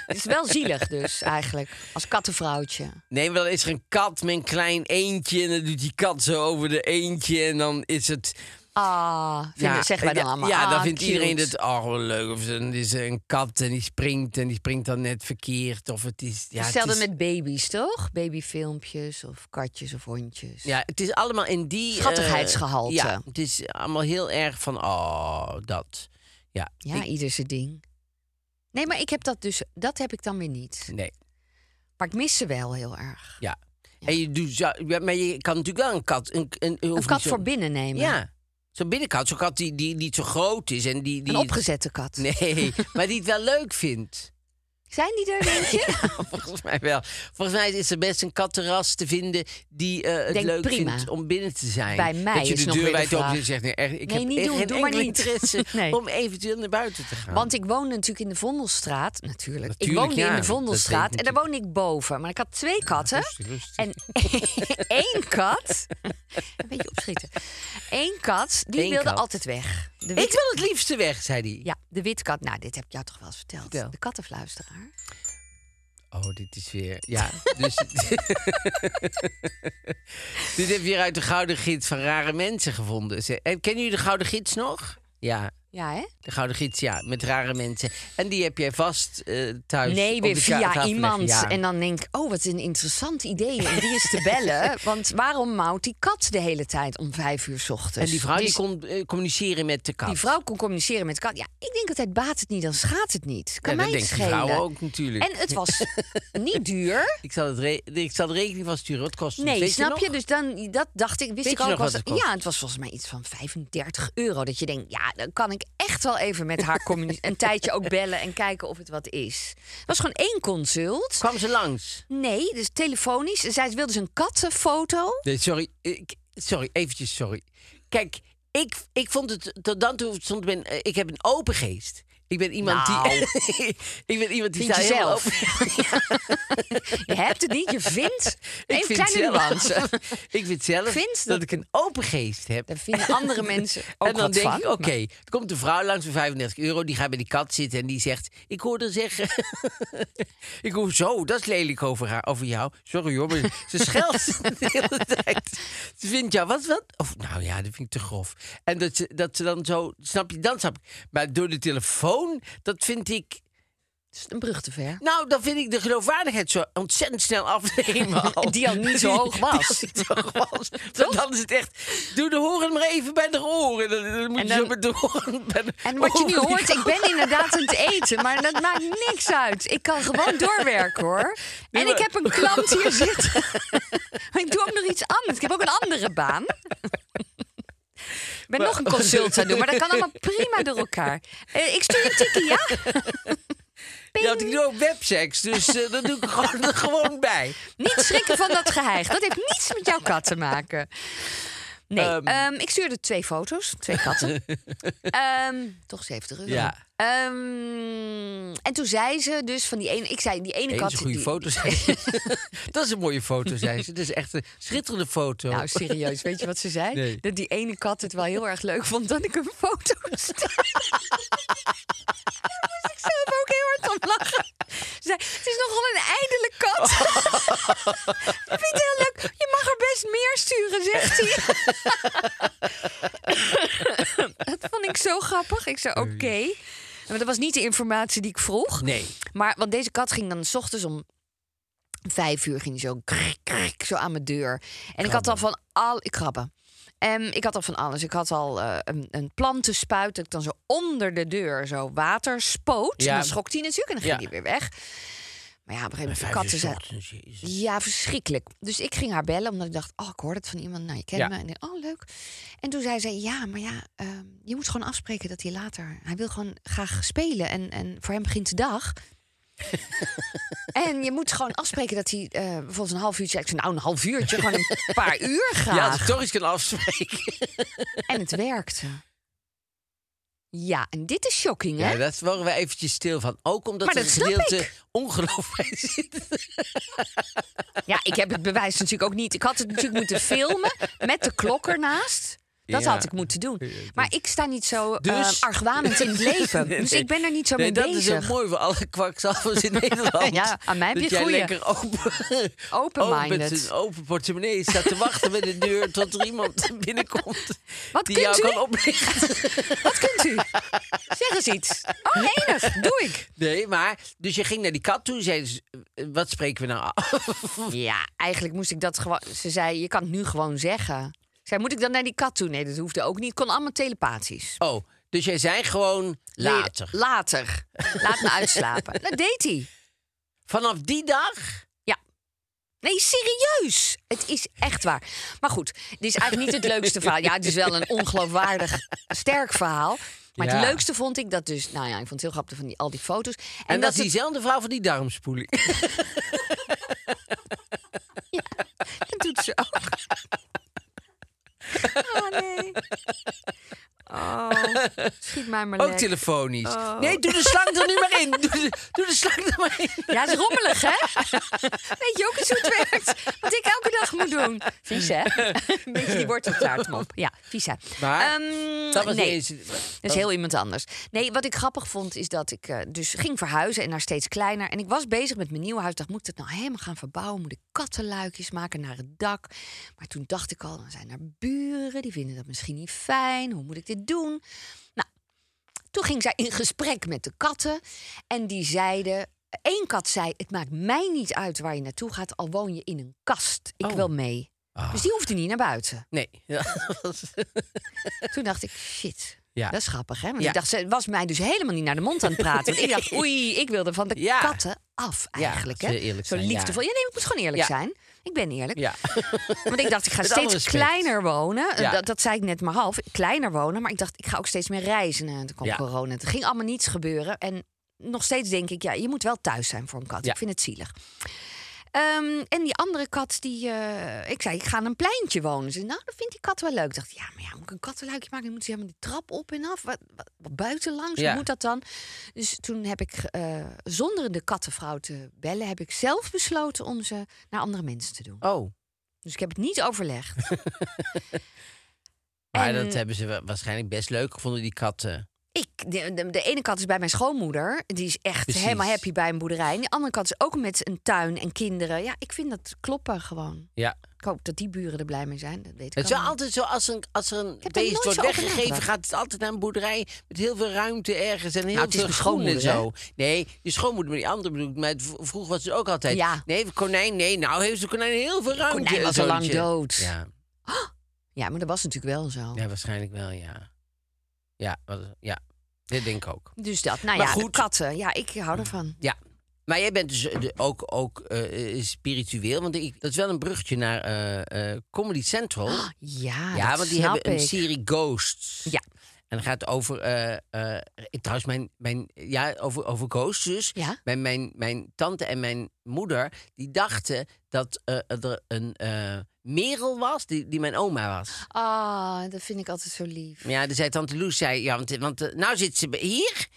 het is wel zielig dus eigenlijk, als kattenvrouwtje.
Nee, maar dan is er een kat met een klein eentje... en dan doet die kat zo over de eentje en dan is het...
Ah, vinden, zeggen wij dan
ja,
allemaal.
Ja, dan
ah,
vindt
cute.
iedereen het oh, wel leuk. Of dan is er een kat en die springt en die springt dan net verkeerd. Of het is... Ja,
Hetzelfde
het is,
met baby's, toch? Babyfilmpjes of katjes of hondjes.
Ja, het is allemaal in die... eh,
Schattigheidsgehalte.
ja, het is allemaal heel erg van... Oh, dat. Ja,
Ja,
ik-
ieder zijn ding. Nee, maar ik heb dat dus, dat heb ik dan weer niet.
nee,
Maar ik mis ze wel heel erg.
ja. En je doet, zo- ja, maar je kan natuurlijk wel een kat... Een, een, hoeft
Een
niet
kat
zo-
voor binnen nemen.
Ja, zo'n binnenkat. Zo'n kat die, die niet zo groot is en die... die
Een opgezette kat.
Nee, maar die het wel leuk vindt.
Zijn die er, denk je?
Volgens mij wel. Volgens mij is er best een katterras te vinden die eh, het
Denk,
leuk
prima.
vindt om binnen te zijn.
Bij mij
dat je
is
de
nog
deur
weer de
wijd open
vraag.
zet en zegt, nee, echt, ik
Nee,
heb
niet
echt
doen,
geen
doe maar
enkele
niet.
interesse
Nee.
om eventueel naar buiten te gaan.
Want ik woonde natuurlijk in de Vondelstraat. Natuurlijk.
Natuurlijk,
ik woonde
ja,
in
dat
de
weet
Vondelstraat. En daar
natuurlijk.
woonde ik boven. Maar ik had twee katten.
Rustig, rustig.
En één kat. Een beetje opschieten. Eén kat, die
Eén
wilde
kat.
altijd weg. De
Ik wil het liefste weg, zei hij.
eh, Ja, de witkat. Nou, dit heb ik jou toch wel eens verteld.
Vertel.
De kattenfluisteraar.
Oh, dit is weer... Ja, dus... dit heb je weer uit de Gouden Gids van Rare Mensen gevonden. Ze- eh, Kennen jullie de Gouden Gids nog? Ja,
Ja, hè?
de Gouden Gids, ja, met rare mensen. En die heb jij vast eh, thuis.
Nee,
op
weer
de ta- tafel
via
liggen,
iemand.
ja.
En dan denk ik, oh, wat een interessant idee. En die is te bellen. Want waarom mouwt die kat de hele tijd om vijf uur 's ochtends?
En die vrouw die
Dus
kon eh, communiceren met de kat.
die vrouw kon communiceren met de kat. Ja, ik denk altijd, baat het niet, dan schaadt het niet. Kan
Ja,
mij
dat
het
denkt die
schelen.
vrouw ook natuurlijk.
En het was niet duur.
Ik zal, het re- ik zal de rekening van sturen. Wat kost het?
Nee,
Weet
snap je?
nog?
Dus dan, dat dacht ik, wist
Weet
ik
je
ook
nog
was
wat het kost?
Ja, het was volgens mij iets van 35 euro. Dat je denkt, ja, dan kan ik echt wel even met haar communi- een tijdje ook bellen en kijken of het wat is. Het was gewoon één consult.
Kwam ze langs?
Nee, dus telefonisch. Zij wilde dus een kattenfoto.
Nee, sorry. Ik, sorry, eventjes sorry. Kijk, ik, ik vond het tot dan toe stond ben, eh, ik heb een open geest. Ik ben iemand
Nou.
die ik ben iemand die
Vind
staat
je
heel
zelf?
open.
Je hebt het niet, je vindt.
Ik
Even
vind
kleine nuance.
zelf, ik vind zelf
Vind
dat,
dat-
ik een open geest heb.
Daar vinden andere mensen ook
en dan
wat
denk
van.
ik, oké, er komt een vrouw langs voor 35 euro. Die gaat bij die kat zitten en die zegt... Ik hoorde zeggen... ik hoor zo, dat is lelijk over, haar, over jou. Sorry hoor, maar ze scheldt de hele tijd. Ze vindt jou, wat, wat? Of, nou ja, dat vind ik te grof. En dat ze, dat ze dan zo... Snap je, dan snap ik. Maar door de telefoon, dat vind ik...
Het is een brug te ver.
Nou, dan vind ik de geloofwaardigheid zo ontzettend snel afnemen. al.
Die al niet zo hoog was.
Die al niet zo hoog was. Want dan is het echt, doe de horen maar even bij de oren. Dan, dan moet
En
je zo
dan-
met de horen bij de
En wat je nu
oren die
hoort, ik
kant
ben inderdaad aan het eten, maar dat maakt niks uit. Ik kan gewoon doorwerken hoor. En ik heb een klant hier zitten. Maar ik doe ook nog iets anders. Ik heb ook een andere baan. Ik ben nog een consult aan het doen, maar dat kan allemaal prima door elkaar. Eh, ik stuur je een tikkie, ja?
op. Ja, want ik doe ook webseks, dus eh, dat doe ik gewoon, er gewoon bij.
Niet schrikken van dat geheig. Dat heeft niets met jouw kat te maken. Nee,
Ehm.
ehm, ik stuurde twee foto's, twee katten. Ehm, toch 70 euro.
Ja.
Ehm, en toen zei ze dus van die ene... Ik zei, die ene
Eens
kat...
een goede
die-
foto, zei ze. Dat is een mooie foto, zei ze. Dat is echt een schitterende foto.
Nou, serieus, weet je wat ze zei?
Nee.
Dat die ene kat het wel heel erg leuk vond dat ik een foto stuurde. Daar moest ik zelf ook heel hard om lachen. Ze zei, het is nogal een ijdele kat. ik vind het heel leuk. Je mag er best meer sturen, zegt hij. dat vond ik zo grappig. Ik zei, oké. Maar dat was niet de informatie die ik vroeg.
Nee.
Maar want deze kat ging dan s ochtends om vijf uur ging die zo krik, krik, zo aan mijn deur. En ik had al van al ik krabben. En ik had al van alles. Ik had al eh, een, een plantenspuit dat ik dan zo onder de deur zo water spoot.
Ja.
En dan schrok die natuurlijk en dan ging
Ja.
die weer weg. Maar ja, op een gegeven
Bij
moment, de
vijf
katten
uur 's
zijn...
ochtends, jezus.
Ja, verschrikkelijk. Dus ik ging haar bellen, omdat ik dacht, oh, ik hoorde het van iemand. Nou, je kent
Ja.
me. En ik, oh, leuk. En toen zei ze, ja, maar ja, ehm, je moet gewoon afspreken dat hij later... Hij wil gewoon graag spelen en, en voor hem begint de dag. en je moet gewoon afspreken dat hij eh, bijvoorbeeld een half uurtje... Ik zei, nou, een half uurtje, gewoon een paar uur
Ja, als
graag.
ik toch eens kan afspreken.
en het werkte. Ja, en dit is shocking, hè?
Ja, daar waren we eventjes stil van. Ook omdat
Maar
er
dat
een
snap
gedeelte
ik.
ongeloof bij zit.
Ja, ik heb het bewijs natuurlijk ook niet. Ik had het natuurlijk moeten filmen met de klok ernaast. Dat
Ja.
had ik moeten doen. Maar ik sta niet zo eh,
Dus-
argwanend in het leven.
Nee,
Dus
nee.
ik ben er niet zo
Nee,
mee
dat
bezig.
is ook mooi voor alle kwakzalvers in Nederland.
Ja, aan mij heb je
dat jij
goeie.
lekker open,
Open-minded.
open met een open portemonnee staat te wachten bij de deur tot er iemand binnenkomt
Wat
die
kunt
jou
u?
kan oplichten.
Wat kunt u? Zeg eens iets. Oh, enig. Doe ik.
Nee, maar dus je ging naar die kat toe en zei ze, eh, wat spreken we nou af?
Ja, eigenlijk moest ik dat gewoon... Ze zei, je kan het nu gewoon zeggen. Ik Zei, moet ik dan naar die kat toe? Nee, dat hoefde ook niet. Het kon allemaal telepathisch.
Oh, dus jij zei gewoon later.
Nee, later. Laat me uitslapen. Dat deed hij.
Vanaf die dag?
Nee, serieus. Het is echt waar. Maar goed, dit is eigenlijk niet het leukste verhaal. Ja, het is wel een ongeloofwaardig sterk verhaal. Maar
Ja.
het leukste vond ik dat dus... Nou ja, ik vond het heel grappig van die, al die foto's. En,
En, dat, is
het-
diezelfde vrouw van die darmspoeling.
Dat doet ze ook. Oh, nee. Oh, schiet mij maar
Ook
lek.
telefonisch.
Oh.
Nee, doe de slang er nu maar in. Doe de, doe de slang er maar in.
Ja, het is rommelig, hè? Weet je ook eens hoe het werkt? Wat ik elke dag moet doen. Vies, hè? Een beetje die worteltaartmop. Ja, vies, hè?
Maar
Ehm,
dat was
nee.
niet eens-
Dat is heel iemand anders. Nee, wat ik grappig vond is dat ik eh, dus ging verhuizen en naar steeds kleiner. En ik was bezig met mijn nieuwe huis. Dacht, moet ik dat nou helemaal gaan verbouwen? Moet ik kattenluikjes maken naar het dak? Maar toen dacht ik al, er zijn er buren. Die vinden dat misschien niet fijn. Hoe moet ik dit doen? Nou, toen ging zij in gesprek met de katten. En die zeiden... één kat zei, het maakt mij niet uit waar je naartoe gaat... al woon je in een kast.
Oh.
Ik wil mee.
Ah.
Dus die hoefde niet naar buiten.
Nee. Ja, dat was-
Toen dacht ik, shit.
Ja.
Dat is grappig, hè? Want
Ja.
ik dacht, ze was mij dus helemaal niet naar de mond aan het praten. Want ik dacht, oei, ik wilde van de
Ja.
katten af
Ja,
eigenlijk,
als
hè?
we eerlijk
Zo
zijn, ja.
liefdevol. Ja. nee, ik moet gewoon eerlijk
Ja.
zijn. Ik ben eerlijk.
ja.
Want ik dacht, ik ga
Met alle
steeds
respect.
kleiner wonen.
Ja.
Dat, dat zei ik net maar half. Kleiner wonen, maar ik dacht, ik ga ook steeds meer reizen. En toen kwam
Ja.
corona. Het ging allemaal niets gebeuren. En nog steeds denk ik, ja, je moet wel thuis zijn voor een kat.
Ja.
Ik vind het zielig. Ehm, en die andere kat, die, eh, ik zei, ik ga aan een pleintje wonen. Ze zei, nou, dat vindt die kat wel leuk. Ik dacht, ja, maar ja, moet ik een kattenluikje maken? Dan moet ze helemaal die trap op en af. Wat, wat, wat buitenlangs,
Ja.
hoe moet dat dan? Dus toen heb ik, eh, zonder de kattenvrouw te bellen... heb ik zelf besloten om ze naar andere mensen te doen.
Oh.
Dus ik heb het niet overlegd.
Maar
En-
dat hebben ze wa- waarschijnlijk best leuk gevonden, die katten.
Ik, de, de, de ene kat is bij mijn schoonmoeder. Die is echt
Precies.
helemaal happy bij een boerderij. En die andere kat is ook met een tuin en kinderen. Ja, ik vind dat kloppen gewoon.
Ja.
Ik hoop dat die buren er blij mee zijn. Dat weet ik
Het is wel
allemaal
altijd zo, als, een, als er een
heb daar
beest
nooit
wordt
zo over
weggegeven,
nagedacht.
gaat het altijd naar een boerderij met heel veel ruimte ergens en heel
het is
veel
mijn
groen en zo.
schoonmoeder,
Nee, je schoonmoeder, maar die andere bedoel ik. Maar het v- vroeger was het ook altijd.
Ja.
Nee, konijn, nee, nou heeft de konijn heel veel ruimte.
konijn was al lang
zoontje.
dood.
Ja,
niet. Ja, maar dat was natuurlijk wel zo.
ja, waarschijnlijk wel, ja. Ja, wat- ja, dit denk ik ook.
Dus dat, nou
Maar
ja, de
goed.
katten. Ja, ik hou ervan.
Ja. Maar jij bent dus eh, de- ook, ook eh, eh, spiritueel, want ik, dat is wel een bruggetje naar eh, eh, Comedy Central.
Ah, Ja,
ja,
dat
want die
snap
hebben een
ik.
serie Ghosts.
Ja.
En dat gaat over, eh, eh, ik- trouwens, mijn, mijn, ja, over, over ghosts dus.
Ja.
Mijn, mijn, mijn tante en mijn moeder, die dachten dat eh, er een eh, merel was, die, die mijn oma was.
Ah, dat vind ik altijd zo lief.
Maar Ja, dus zei tante Loes, zei, ja, want, want eh, nou zit ze bij- hier.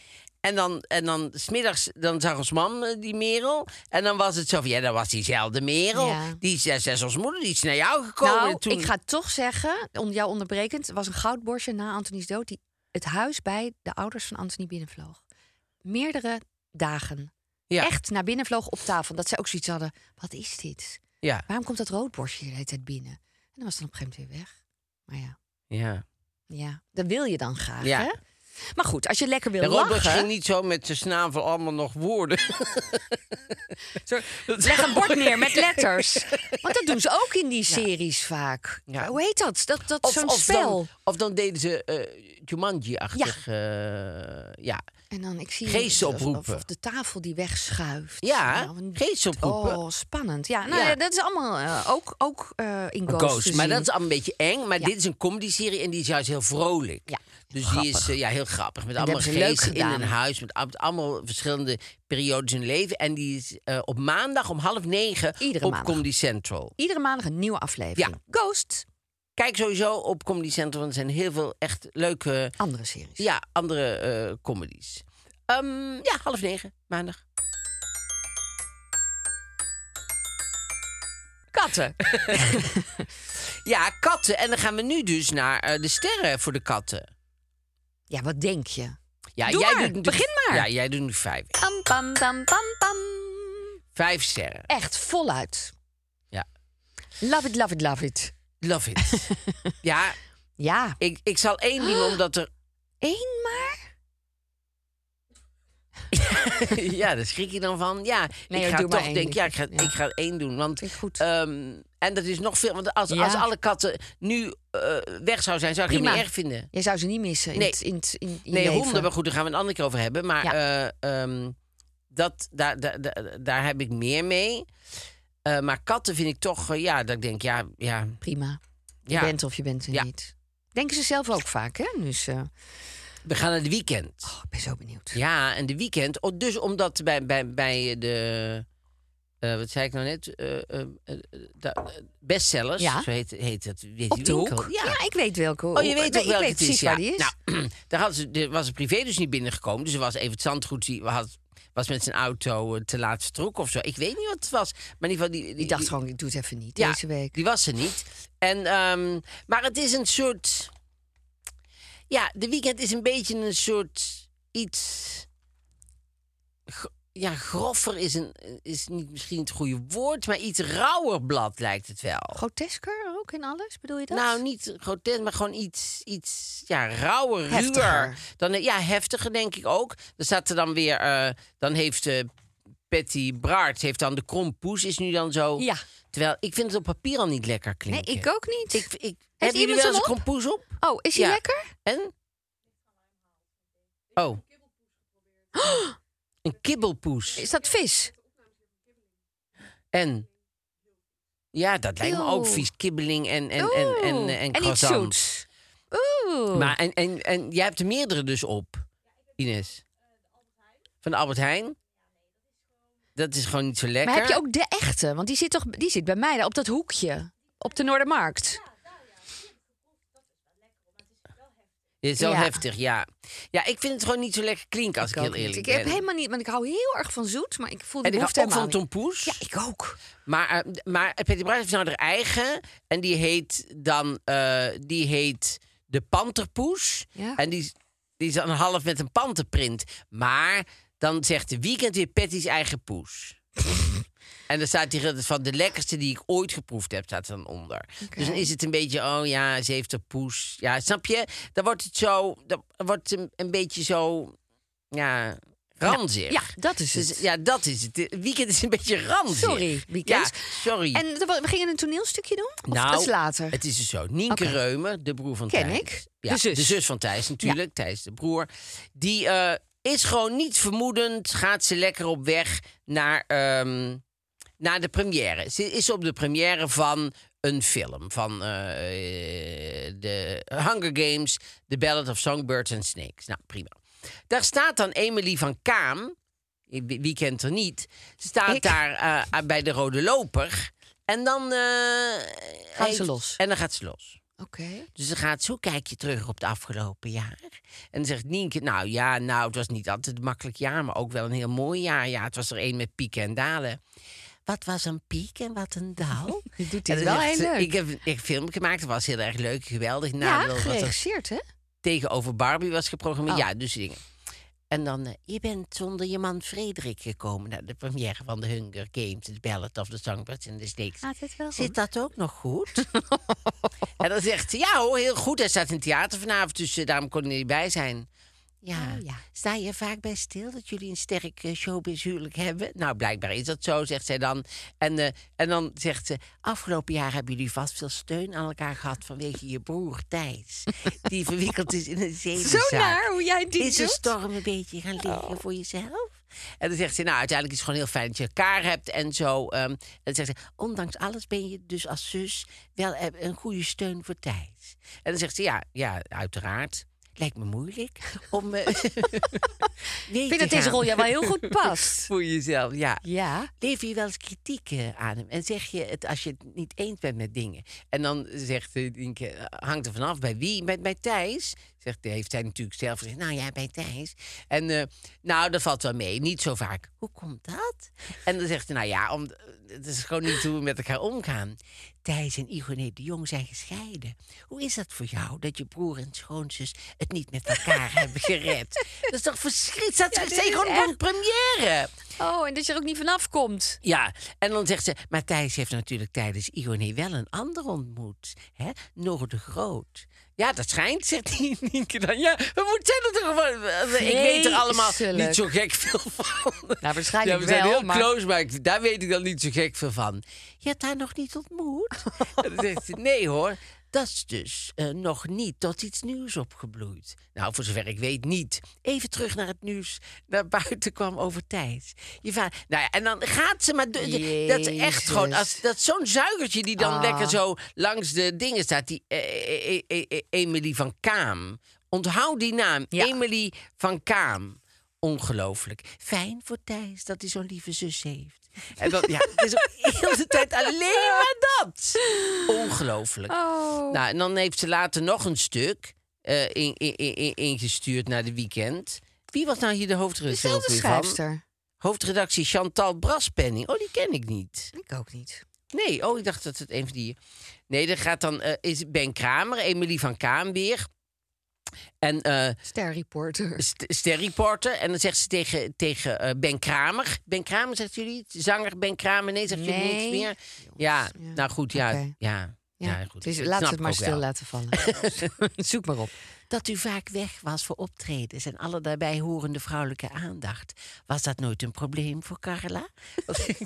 En dan, en dan smiddags, dan zag ons mam eh, die merel. En dan was het zo van, ja, dat was diezelfde merel.
Ja.
Die is, dat is ons moeder, die is naar jou gekomen.
nou,
En toen-
ik ga toch zeggen, om jou onderbrekend, er was een goudborstje na Antonies dood die het huis bij de ouders van Antonie binnenvloog. Meerdere dagen.
ja,
Echt naar binnen vloog op tafel. Dat zij ook zoiets hadden. Wat is dit?
Ja,
Waarom komt dat roodborstje de hele tijd binnen? En dan was het dan op een gegeven moment weer weg. Maar ja,
ja.
ja dat wil je dan graag,
Ja.
hè? Maar goed, als je lekker wil
De robot
lachen...
ging niet zo met zijn snavel allemaal nog woorden.
Leg een bord neer met letters. Want dat doen ze ook in die series vaak.
Ja.
Hoe heet dat? Dat, dat zo'n
of
spel.
Dan, of dan deden ze eh Jumanji-achtig. eh, ja.
En dan, ik zie
Geesten
of- of-
oproepen.
Of de tafel die wegschuift.
Ja,
Nou, een-
geesten oproepen.
Oh, spannend. Ja, nou,
Ja.
ja, dat is allemaal eh, ook, ook eh, in Ghost,
Ghost.
te
Maar
zien.
dat is allemaal een beetje eng. Maar
Ja.
dit is een comedy-serie en die is juist heel vrolijk.
Ja,
Dus die
grappig.
is eh, ja, heel grappig. Met
En dat
allemaal
hebben ze leuk
geesten in
gedaan.
een huis. Met ab- allemaal verschillende periodes in hun leven. En die is eh, op maandag om half negen
Iedere
op
maandag.
Comedy Central.
Iedere maandag een nieuwe aflevering. Ghost,
Kijk sowieso op Comedy Central. Want er zijn heel veel echt leuke
andere series.
ja, andere eh, comedies. Ehm, ja, half negen maandag.
Katten.
Ja, katten. En dan gaan we nu dus naar eh, de sterren voor de katten.
Ja, wat denk je?
Ja,
Doe maar.
natuurlijk-
Begin maar.
Ja, jij doet nu vijf.
Pam, pam, pam, pam, pam.
Vijf sterren.
Echt voluit.
Ja.
Love it, love it, love it.
Love it. ja,
Ja,
ik, ik zal één doen omdat er...
één maar.
ja, daar schrik je dan van. Ja,
Nee,
ik ga
doe maar
toch
één.
denken, ja, ik ga,
Ja.
ik ga één doen. Want,
Vind ik goed.
ehm, en dat is nog veel. Want als,
Ja.
als alle katten nu eh, weg zouden zijn, zou ik het
Prima.
niet erg vinden.
Jij zou ze niet missen in
Nee.
het in, het- in, in je
Nee,
leven.
honden, maar goed, daar gaan we een andere keer over hebben. Maar eh, ehm, dat, daar, daar, daar, daar heb ik meer mee. Eh, maar katten vind ik toch, eh, ja, dat ik denk, ja, ja,
Prima. Je
ja.
bent of je bent er
Ja.
niet. Denken ze zelf ook vaak, hè? Dus, eh,
we gaan naar het weekend.
oh, ik ben zo benieuwd.
Ja, en de weekend. Oh, dus omdat bij, bij, bij de. eh, wat zei ik nou net? Eh, eh, eh, da- bestsellers.
Ja.
Zo heet, heet dat. Weet
Op
die
de hoek?
winkel?
Ja. ik weet welke.
Oh, je weet ook
ik
welke
weet
het
precies
is, ja.
waar die is.
Nou, daar had ze, er was een privé dus niet binnengekomen. Dus er was even het zandgoed. Die had, was met zijn auto eh, te laat vertrokken of zo. Ik weet niet wat het was. Maar in ieder geval... Die,
die dacht gewoon, ik doe het even niet
ja,
deze week.
die was er niet. En, ehm, maar het is een soort... Ja, de weekend is een beetje een soort iets... gro- Ja, groffer is, een, is niet misschien het goede woord, maar iets rauwer blad lijkt het wel.
Grotesker ook in alles, bedoel je dat?
Nou, niet grotesk, maar gewoon iets, iets ja, rauwer, ruwer.
Heftiger.
Dan, ja, heftiger denk ik ook. Dan staat er dan weer... eh, dan heeft eh, Patty Braart, heeft dan de krompoes, is nu dan zo...
Ja.
Terwijl, ik vind het op papier al niet lekker
Nee,
klinken.
ik ook niet.
Ik, ik, hebben jullie
iemand
wel eens
hem
een
op?
krompoes op?
Oh, is hij
Ja.
lekker?
En? Oh. Een kibbelpoes.
Is dat vis?
En? Ja, dat lijkt me ook
Eeuw.
vies. Kibbeling en, en, en, en, eh,
Oeh,
en,
iets
croissant.
zoets. Oeh.
Maar en, en, en jij hebt er meerdere dus op, Ines? Van de Albert Heijn? Dat is gewoon niet zo lekker.
Maar heb je ook de echte? Want die zit toch die zit bij mij daar op dat hoekje. Op de Noordermarkt.
Dit is wel
Ja.
heftig, ja. Ja, ik vind het gewoon niet zo lekker klinken, als ik,
ook
heel
niet.
eerlijk
Ik
ben.
heb helemaal niet, want ik hou heel erg van zoet, maar ik voel die
en ik
behoefte
hou ook
helemaal
van Tom Poes.
niet. Ja, ik ook.
Maar, eh, d- maar Patty Braart heeft nou haar eigen. En die heet dan... eh, die heet de panterpoes.
Ja.
En die, is- die is dan half met een panterprint. Maar dan zegt de weekend weer Patty's eigen poes. en dan staat hier van de lekkerste die ik ooit geproefd heb, staat er dan onder. Dus dan is het een beetje, oh ja, ze heeft een poes. Ja, snap je? Dan wordt het zo... Dan wordt het een, een beetje zo... Ja... Ranzig.
Ja, dat is het.
Dus, ja, dat is het. Het Weekend is een beetje ranzig.
Sorry,
Ja,
weekends.
sorry.
En we we gingen een toneelstukje doen? Of dat is later?
Het is dus zo. Nienke
Oké.
Reumer, de broer van
Ken
Thijs.
ik.
Ja,
De zus.
van Thijs natuurlijk. Thijs, de broer. Die eh, is gewoon niet vermoedend. Gaat ze lekker op weg naar, ehm, naar de première. Ze is op de première van een film. Van eh, de Hunger Games, The Ballad of Songbirds and Snakes. Nou, prima. Daar staat dan Emily van Kaam. Wie wie kent er niet? Staat
Ik.
daar eh, bij de Rode Loper. En dan... eh,
Gaan ze
heeft-
los.
En dan gaat ze los.
Oké.
Dus dan gaat zo kijk je terug op het afgelopen jaar. En dan zegt Nienke, nou ja, nou, het was niet altijd een makkelijk jaar, maar ook wel een heel mooi jaar. Ja, het was er één met pieken en dalen. Wat was een piek en wat een dal?
Je doet
En
dit
dan
wel
zegt
heel
ze,
leuk.
Ik heb ik heb een film gemaakt, dat was heel erg leuk, geweldig.
ja,
Nadeel was dat
geregisseerd, hè?
tegenover Barbie was geprogrammeerd.
Oh.
Ja, dus die dingen. En dan, eh, je bent zonder je man Frederik gekomen naar de première van de Hunger Games, de Ballad of the Songbirds en de Snakes.
het wel
Zit dat ook nog goed? en dan zegt ze, ja hoor, heel goed. Hij staat in het theater vanavond, dus eh, daarom kon hij niet bij zijn. Ja.
Oh, ja.
Sta je er vaak bij stil dat jullie een sterk eh, showbizhuwelijk hebben? Nou, blijkbaar is dat zo, zegt zij dan. En, eh, en dan zegt ze, afgelopen jaar hebben jullie vast veel steun aan elkaar gehad... vanwege je broer Thijs, die verwikkeld is in een zedenzaak.
Zo naar hoe jij dit
Is de
doet.
storm een beetje gaan liggen voor jezelf? Oh. En dan zegt ze, nou, uiteindelijk is het gewoon heel fijn dat je elkaar hebt en zo. ehm. en dan zegt ze, ondanks alles ben je dus als zus wel eh, een goede steun voor Thijs. En dan zegt ze, ja, ja uiteraard. Lijkt me moeilijk om... eh, mee
Ik
te
vind dat deze
gaan
rol jou wel heel goed past.
voor jezelf, ja.
Ja.
Lever je wel eens kritiek eh, aan hem? En zeg je het als je het niet eens bent met dingen? En dan zegt eh, Dienke, eh, hangt er vanaf bij wie? Bij, bij Thijs? Zegt, heeft hij natuurlijk zelf gezegd, nou ja, bij Thijs. En eh, nou, dat valt wel mee, niet zo vaak. Hoe komt dat? En dan zegt hij, nou ja, om, het is gewoon niet hoe we met elkaar omgaan. Thijs en Igoné de Jong zijn gescheiden. Hoe is dat voor jou, dat je broer en schoonzus het niet met elkaar hebben gered? Dat is toch verschrikkelijk? Dat is gewoon van première.
Oh, en dat je er ook niet vanaf komt.
Ja, en dan zegt ze, maar Thijs heeft natuurlijk tijdens Ione wel een ander ontmoet. Hè? Noor de Groot. Ja, dat schijnt, zegt die Nienke dan. Ja, we moeten er toch gewoon... Ik weet er allemaal niet zo gek veel van.
Nou, waarschijnlijk
ja, we zijn
wel,
heel
maar-
close, maar ik- daar weet ik dan niet zo gek veel van. Je hebt haar nog niet ontmoet? en dan zegt ze, nee hoor, dat is dus eh, nog niet tot iets nieuws opgebloeid. Nou, voor zover ik weet niet. Even terug naar het nieuws naar buiten kwam over Thijs. Je vader, nou ja, en dan gaat ze maar... do- Dat is echt gewoon... Als, dat is zo'n zuigertje die
Ah.
dan lekker zo langs de dingen staat. Die eh, eh, eh, eh, eh, Emily van Kaam. Onthoud die naam.
Ja.
Emily van Kaam. Ongelooflijk. Fijn voor Thijs dat hij zo'n lieve zus heeft. En dan, ja, het is ook heel de tijd alleen maar dat. Ongelooflijk.
Oh.
Nou, en dan heeft ze later nog een stuk eh, in- in- in- in- ingestuurd naar de weekend. Wie was nou hier de hoofdredacteur
Dezelfde
ook weer van?
schrijfster.
Hoofdredactie Chantal Braspenning. Oh, die ken ik niet.
Ik ook niet.
Nee, oh, ik dacht dat het een van die... Nee, er gaat dan eh, is Ben Kramer, Emily van Kaam weer. En eh,
Sterreporter.
st- sterreporter. En dan zegt ze tegen, tegen eh, Ben Kramer. Ben Kramer, zegt jullie? het? Zanger Ben Kramer? Nee, zegt jullie niks
Nee.
meer? Ja,
ja.
nou goed, ja.
Oké.
Ja, ja.
Ja,
goed.
dus
Ik
laat
snap
ze het maar
ook wel.
stil laten vallen. Zoek maar op.
Dat u vaak weg was voor optredens en alle daarbij horende vrouwelijke aandacht. Was dat nooit een probleem voor Carla?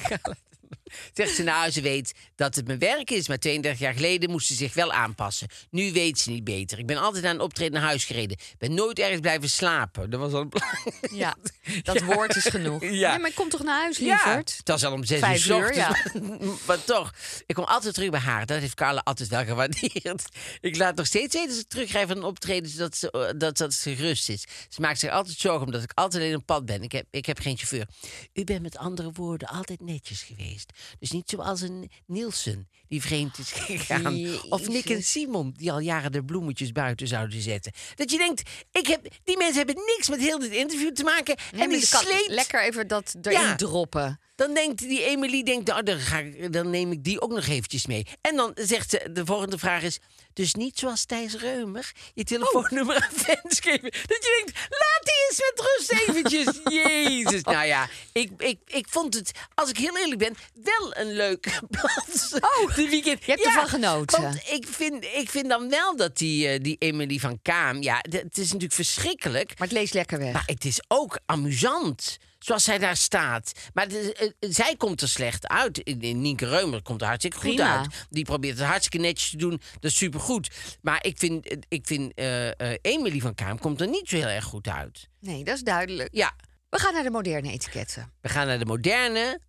Zegt ze nou, ze weet dat het mijn werk is. Maar 32 jaar geleden moest ze zich wel aanpassen. Nu weet ze niet beter. Ik ben altijd aan een optreden naar huis gereden. Ben nooit ergens blijven slapen. Dat was al belangrijk.
Ja, dat woord is genoeg.
Ja.
Nee, maar kom toch naar huis, lieverd?
dat is al om zes uur,
Vijf
s
uur,
ochtends,
ja.
maar, maar toch, ik kom altijd terug bij haar. Dat heeft Carla altijd wel gewaardeerd. Ik laat nog steeds weten als ik terugrijden van een optreden... zodat ze, eh, dat, dat ze gerust is. Ze maakt zich altijd zorgen omdat ik altijd alleen op pad ben. Ik heb, ik heb geen chauffeur. U bent met andere woorden altijd netjes geweest. Dus niet zoals een Nielsen die vreemd is gegaan. Of Nick en Simon die al jaren de bloemetjes buiten zouden zetten. Dat je denkt, ik heb, die mensen hebben niks met heel dit interview te maken. en die sleept...
lekker even dat erin
Ja.
droppen.
Dan denkt die Emily, denkt, nou, dan, ga ik, dan neem ik die ook nog eventjes mee. En dan zegt ze, de volgende vraag is... Dus niet zoals Thijs Reumer, je telefoonnummer aan fans geven. Dat je denkt, laat die eens met rust eventjes. Jezus, nou ja, ik, ik, ik vond het, als ik heel eerlijk ben... wel een leuke plaats. Oh, de weekend.
je hebt ervan genoten.
want ik vind, ik vind dan wel dat die, eh, die Emily van Kaam... ja, d- het is natuurlijk verschrikkelijk...
Maar het leest lekker weg.
Maar Nou, het is ook amusant. Zoals zij daar staat. Maar de- eh, zij komt er slecht uit. In- in Nienke Reumer komt er hartstikke goed
Prima.
uit. Die probeert het hartstikke netjes te doen. Dat is supergoed. Maar ik vind, eh, ik vind eh, eh, Emily van Kaam komt er niet zo heel erg goed uit.
Nee, dat is duidelijk.
Ja,
We gaan naar de moderne etiketten.
we gaan naar de moderne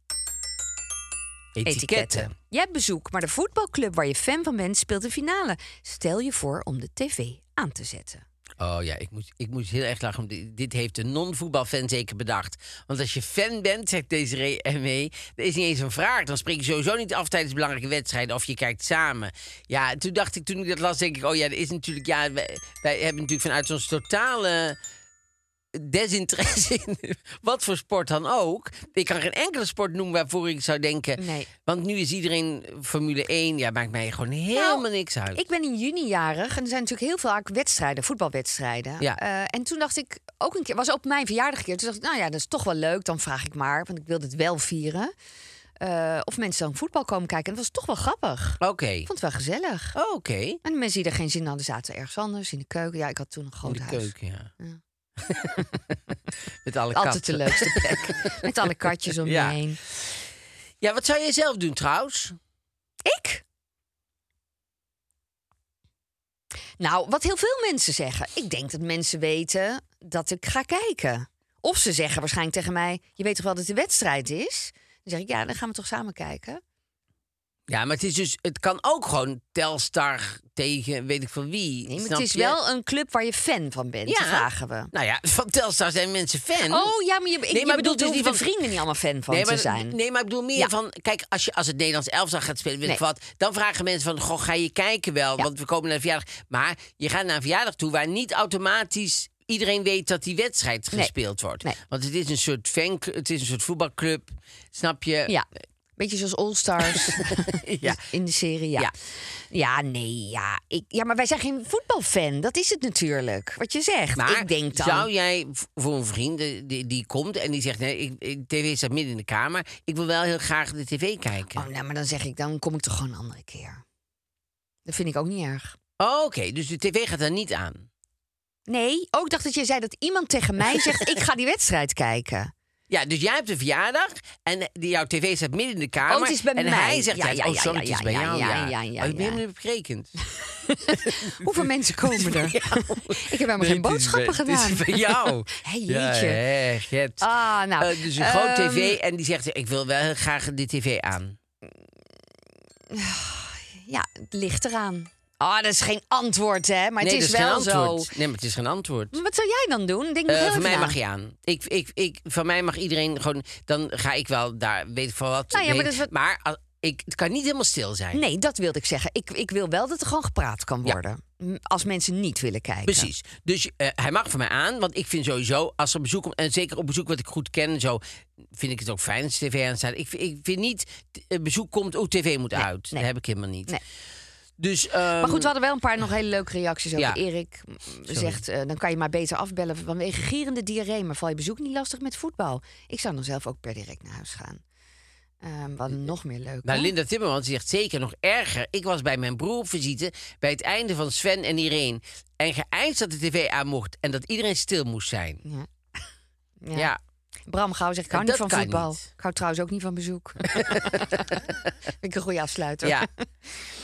etiketten.
Je hebt bezoek, maar de voetbalclub waar je fan van bent speelt de finale. Stel je voor om de tv aan te zetten.
Oh ja, ik moest, ik moest heel erg lachen. om di- Dit heeft de non-voetbalfan zeker bedacht. Want als je fan bent, zegt Desiree ermee, E, er is niet eens een vraag. Dan spreek je sowieso niet af tijdens belangrijke wedstrijden of je kijkt samen. Ja, toen dacht ik, toen ik dat las, denk ik, oh ja, er is natuurlijk, ja, wij, wij hebben natuurlijk vanuit ons totale desinteresse in wat voor sport dan ook. Ik kan geen enkele sport noemen waarvoor ik zou denken.
Nee.
Want nu is iedereen Formule 1, ja, maakt mij gewoon helemaal
Nou,
niks uit.
Ik ben in juni jarig en er zijn natuurlijk heel vaak wedstrijden, voetbalwedstrijden.
Ja.
Eh, en toen dacht ik ook een keer, was op mijn verjaardag een keer. Toen dacht ik, nou ja, dat is toch wel leuk, dan vraag ik maar, want ik wilde het wel vieren. Eh, of mensen dan voetbal komen kijken. En dat was toch wel grappig.
Oké.
Ik vond het wel gezellig.
Oké.
En de mensen die er geen zin in hadden, zaten ergens anders in de keuken. Ja, ik had toen een groot
In de
huis.
keuken, ja. Met alle
Altijd de
katten.
leukste plek. Met alle katjes om je
Ja.
heen.
Ja, wat zou jij zelf doen trouwens?
Ik? Nou, wat heel veel mensen zeggen. Ik denk dat mensen weten dat ik ga kijken. Of ze zeggen waarschijnlijk tegen mij: Je weet toch wel dat de wedstrijd is? Dan zeg ik: Ja, dan gaan we toch samen kijken.
Ja, maar het, is dus, het kan ook gewoon Telstar tegen weet ik van wie.
Nee, maar
snap
het is
je?
wel een club waar je fan van bent.
Ja.
Ja. vragen we.
Nou ja, van Telstar zijn mensen fan.
Oh ja, maar je, ik, je
maar
bedoelt
bedoel
dus
dus
die
van-
van vrienden niet allemaal fan van
nee, maar,
te zijn.
Nee, maar ik bedoel meer
Ja.
van... Kijk, als, je, als het Nederlands elftal gaat spelen, weet ik
Nee.
wat... dan vragen mensen van, goh, ga je kijken wel?
Ja.
Want we komen naar een verjaardag. Maar je gaat naar een verjaardag toe waar niet automatisch... Iedereen weet dat die wedstrijd
Nee.
gespeeld wordt.
Nee.
Want het is een soort fan, het is een soort voetbalclub. Snap je?
Ja. Beetje zoals All Stars in de serie, ja.
Ja.
Ja, nee, ja. Ik, ja, maar wij zijn geen voetbalfan. Dat is het natuurlijk, wat je zegt.
Maar
ik denk dan...
zou jij v- voor een vriend eh, die, die komt en die zegt... Nee, ik, ik- tv staat midden in de kamer. Ik wil wel heel graag de tv kijken.
Oh, nou, maar dan zeg ik, dan kom ik toch gewoon een andere keer. Dat vind ik ook niet erg.
Oh, Oké, dus de tv gaat daar niet aan.
Nee, ook dacht dat je zei dat iemand tegen mij zegt... ik ga die wedstrijd kijken.
Ja, dus jij hebt een verjaardag en eh, die, jouw tv staat midden in de kamer.
Oh, het is bij
en
mij.
hij zegt,
Ja,
dat,
ja,
oh
ja,
sorry, het
ja,
is bij
ja,
jou.
ja, ja,
Ja,
ja,
Oh, ik ben
ja.
helemaal niet berekend.
Hoeveel mensen komen er? ik heb helemaal
Nee,
geen
het is
boodschappen
bij- het
gedaan.
is bij jou.
Hé,
Ja,
jeetje.
hè, Gert.
Ah, nou.
Eh, dus een groot
ehm,
tv en die zegt, ik wil wel heel graag de tv aan.
Ja, het ligt eraan. Ah, dat is geen antwoord, hè? Maar het
nee,
is,
dat
wel
geen antwoord.
zo.
Nee, maar het is geen antwoord.
Maar wat zou jij dan doen? Denk nog
Eh,
heel
voor
even na.
mij mag je aan. Ik, ik, ik, van mij mag iedereen gewoon... Dan ga ik wel daar, weet ik van wat.
Nou ja, maar
heen.
dat is wat-
Maar, ah, ik, het kan niet helemaal stil zijn.
Nee, dat wilde ik zeggen. Ik, ik wil wel dat er gewoon gepraat kan
Ja.
worden. M, Als mensen niet willen kijken.
Precies. Dus eh, hij mag van mij aan, want ik vind sowieso, als er bezoek komt, en zeker op bezoek wat ik goed ken en zo, vind ik het ook fijn als tv aanstaat. Ik, vind- ik vind niet, t- eh, bezoek komt, oh, tv moet uit.
nee.
Dat heb ik helemaal niet.
Nee.
Dus,
Maar goed, we hadden wel een paar nog hele leuke reacties over.
Ja.
Erik m, zegt, eh, dan kan je maar beter afbellen. Vanwege gierende diarree, maar val je bezoek niet lastig met voetbal. Ik zou dan zelf ook per direct naar huis gaan. Ehm wat nog meer leuk.
Nou, Linda Timmermans zegt zeker nog erger. Ik was bij mijn broer op visite bij het einde van Sven en Irene. En geëist dat de tv aan mocht en dat iedereen stil moest zijn.
Ja. Ja.
Ja,
Bram Gauw zegt, ik hou
eh, Dat
niet van
kan
voetbal.
niet.
Ik hou trouwens ook niet van bezoek. Vind ik een goede afsluiter.
ja.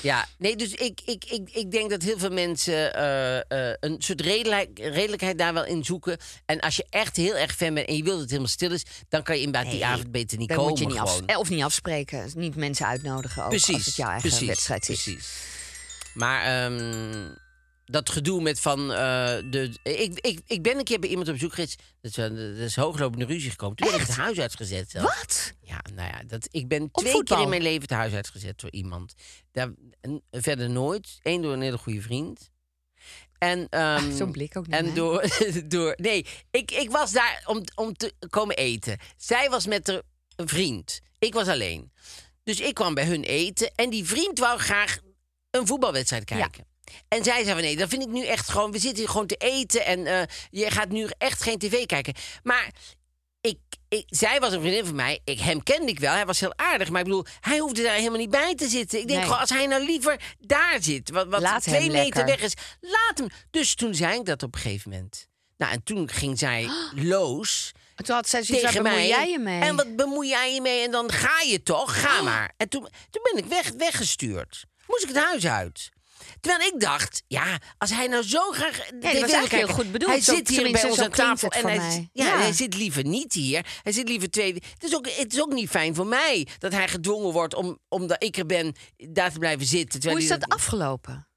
ja. Nee, dus ik, ik, ik, ik denk dat heel veel mensen eh, eh, een soort redelijk, redelijkheid daar wel in zoeken. En als je echt heel erg fan bent en je wilt dat het helemaal stil is, dan kan je inderdaad die avond beter niet
Dan
komen.
moet je niet af,
gewoon.
eh, of niet afspreken. Niet mensen uitnodigen ook
precies,
als het jouw eigen
precies,
wedstrijd is.
Precies. Maar ehm, dat gedoe met van eh, de. Ik, ik, ik ben een keer bij iemand op bezoek geweest. Dat is, wel- dat is hooglopende ruzie gekomen. Toen ben ik het huis uitgezet. zelfs.
Wat?
Ja, nou ja, dat, ik ben
Op
twee
voetbal?
keer in mijn leven het huis uitgezet door iemand. Daar, en verder nooit. Eén door een hele goede vriend. En, ehm,
Ah, Zo'n blik ook naar
En
mij.
door, door... Nee, ik, ik was daar om, om te komen eten. Zij was met haar vriend. Ik was alleen. Dus ik kwam bij hun eten. En die vriend wou graag een voetbalwedstrijd kijken. En zij zei van nee, dat vind ik nu echt gewoon... We zitten hier gewoon te eten en eh, je gaat nu echt geen tv kijken. Maar ik, ik, zij was een vriendin van mij. Ik, hem kende ik wel. Hij was heel aardig. Maar ik bedoel, hij hoefde daar helemaal niet bij te zitten. Ik denk
Nee.
gewoon, als hij nou liever daar zit. Wat, wat
Laat
twee
hem lekker.
meter weg is. Laat hem. Dus toen zei ik dat op een gegeven moment. Nou, en toen ging zij loos
En Toen had zij zoiets
tegen
waar
mij.
bemoei jij je mee? Oh.
En wat bemoei jij je mee? En dan ga je toch? Ga maar. En toen, toen ben ik weg, weggestuurd. Moest ik het huis uit. Terwijl ik dacht, ja, als hij nou zo graag. Ja,
was eigenlijk heel goed bedoeld.
Hij
Zo-
zit hier bij
tenminste,
ons
zo
aan
klinkt
tafel.
het
En
voor
hij,
mij.
Ja,
Ja.
hij zit liever niet hier. Hij zit liever twee. Het is ook, het is ook niet fijn voor mij dat hij gedwongen wordt om, omdat ik er ben, daar te blijven zitten. terwijl
Hoe is
hij
dat afgelopen?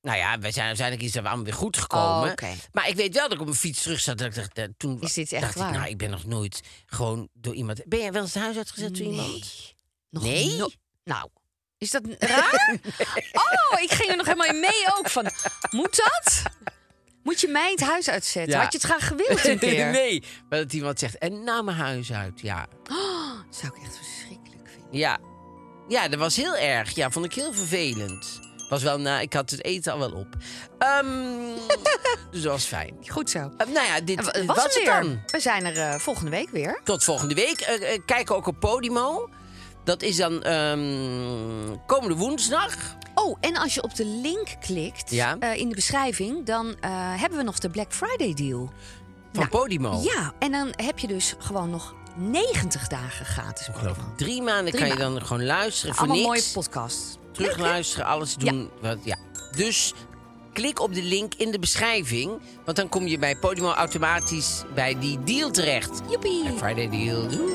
Nou ja, wij zijn uiteindelijk is dat allemaal weer goed gekomen.
Oh, oké.
Maar ik weet wel dat ik op mijn fiets terug zat. Dat ik dacht, eh, toen
Is dit echt
dacht
waar?
Ik, nou, ik ben nog nooit gewoon door iemand. Ben jij wel eens het huis uitgezet door iemand?
Nog
Nee?
no- nou, is dat raar? Oh, ik ging er nog helemaal in mee ook. Van, moet dat? Moet je mij het huis uitzetten?
Ja.
Had je het graag gewild een keer?
nee, maar dat iemand zegt, en na mijn huis uit, ja.
Dat zou ik echt verschrikkelijk vinden.
Ja, ja dat was heel erg. Ja, vond ik heel vervelend. Was wel na, ik had het eten al wel op. Ehm, dus dat was fijn.
Goed zo.
Eh, nou ja, dit
En wa-
dit
was
was
hem
het
weer.
dan.
We zijn er eh, volgende week weer.
Tot volgende week. Eh, eh, kijk ook op Podimo. Dat is dan ehm, komende woensdag.
Oh, en als je op de link klikt
Ja.
eh, in de beschrijving... dan eh, hebben we nog de Black Friday deal.
Van Podimo.
Ja, en dan heb je dus gewoon nog 90 dagen gratis.
Geloof
Podimo.
ik. Drie maanden
Drie
kan je
maanden.
dan gewoon luisteren voor
Allemaal mooie
niks.
podcasts.
Terugluisteren, alles doen. Wat, ja. Dus klik op de link in de beschrijving. Want dan kom je bij Podimo automatisch bij die deal terecht.
Joepie.
Black Friday deal. Doei.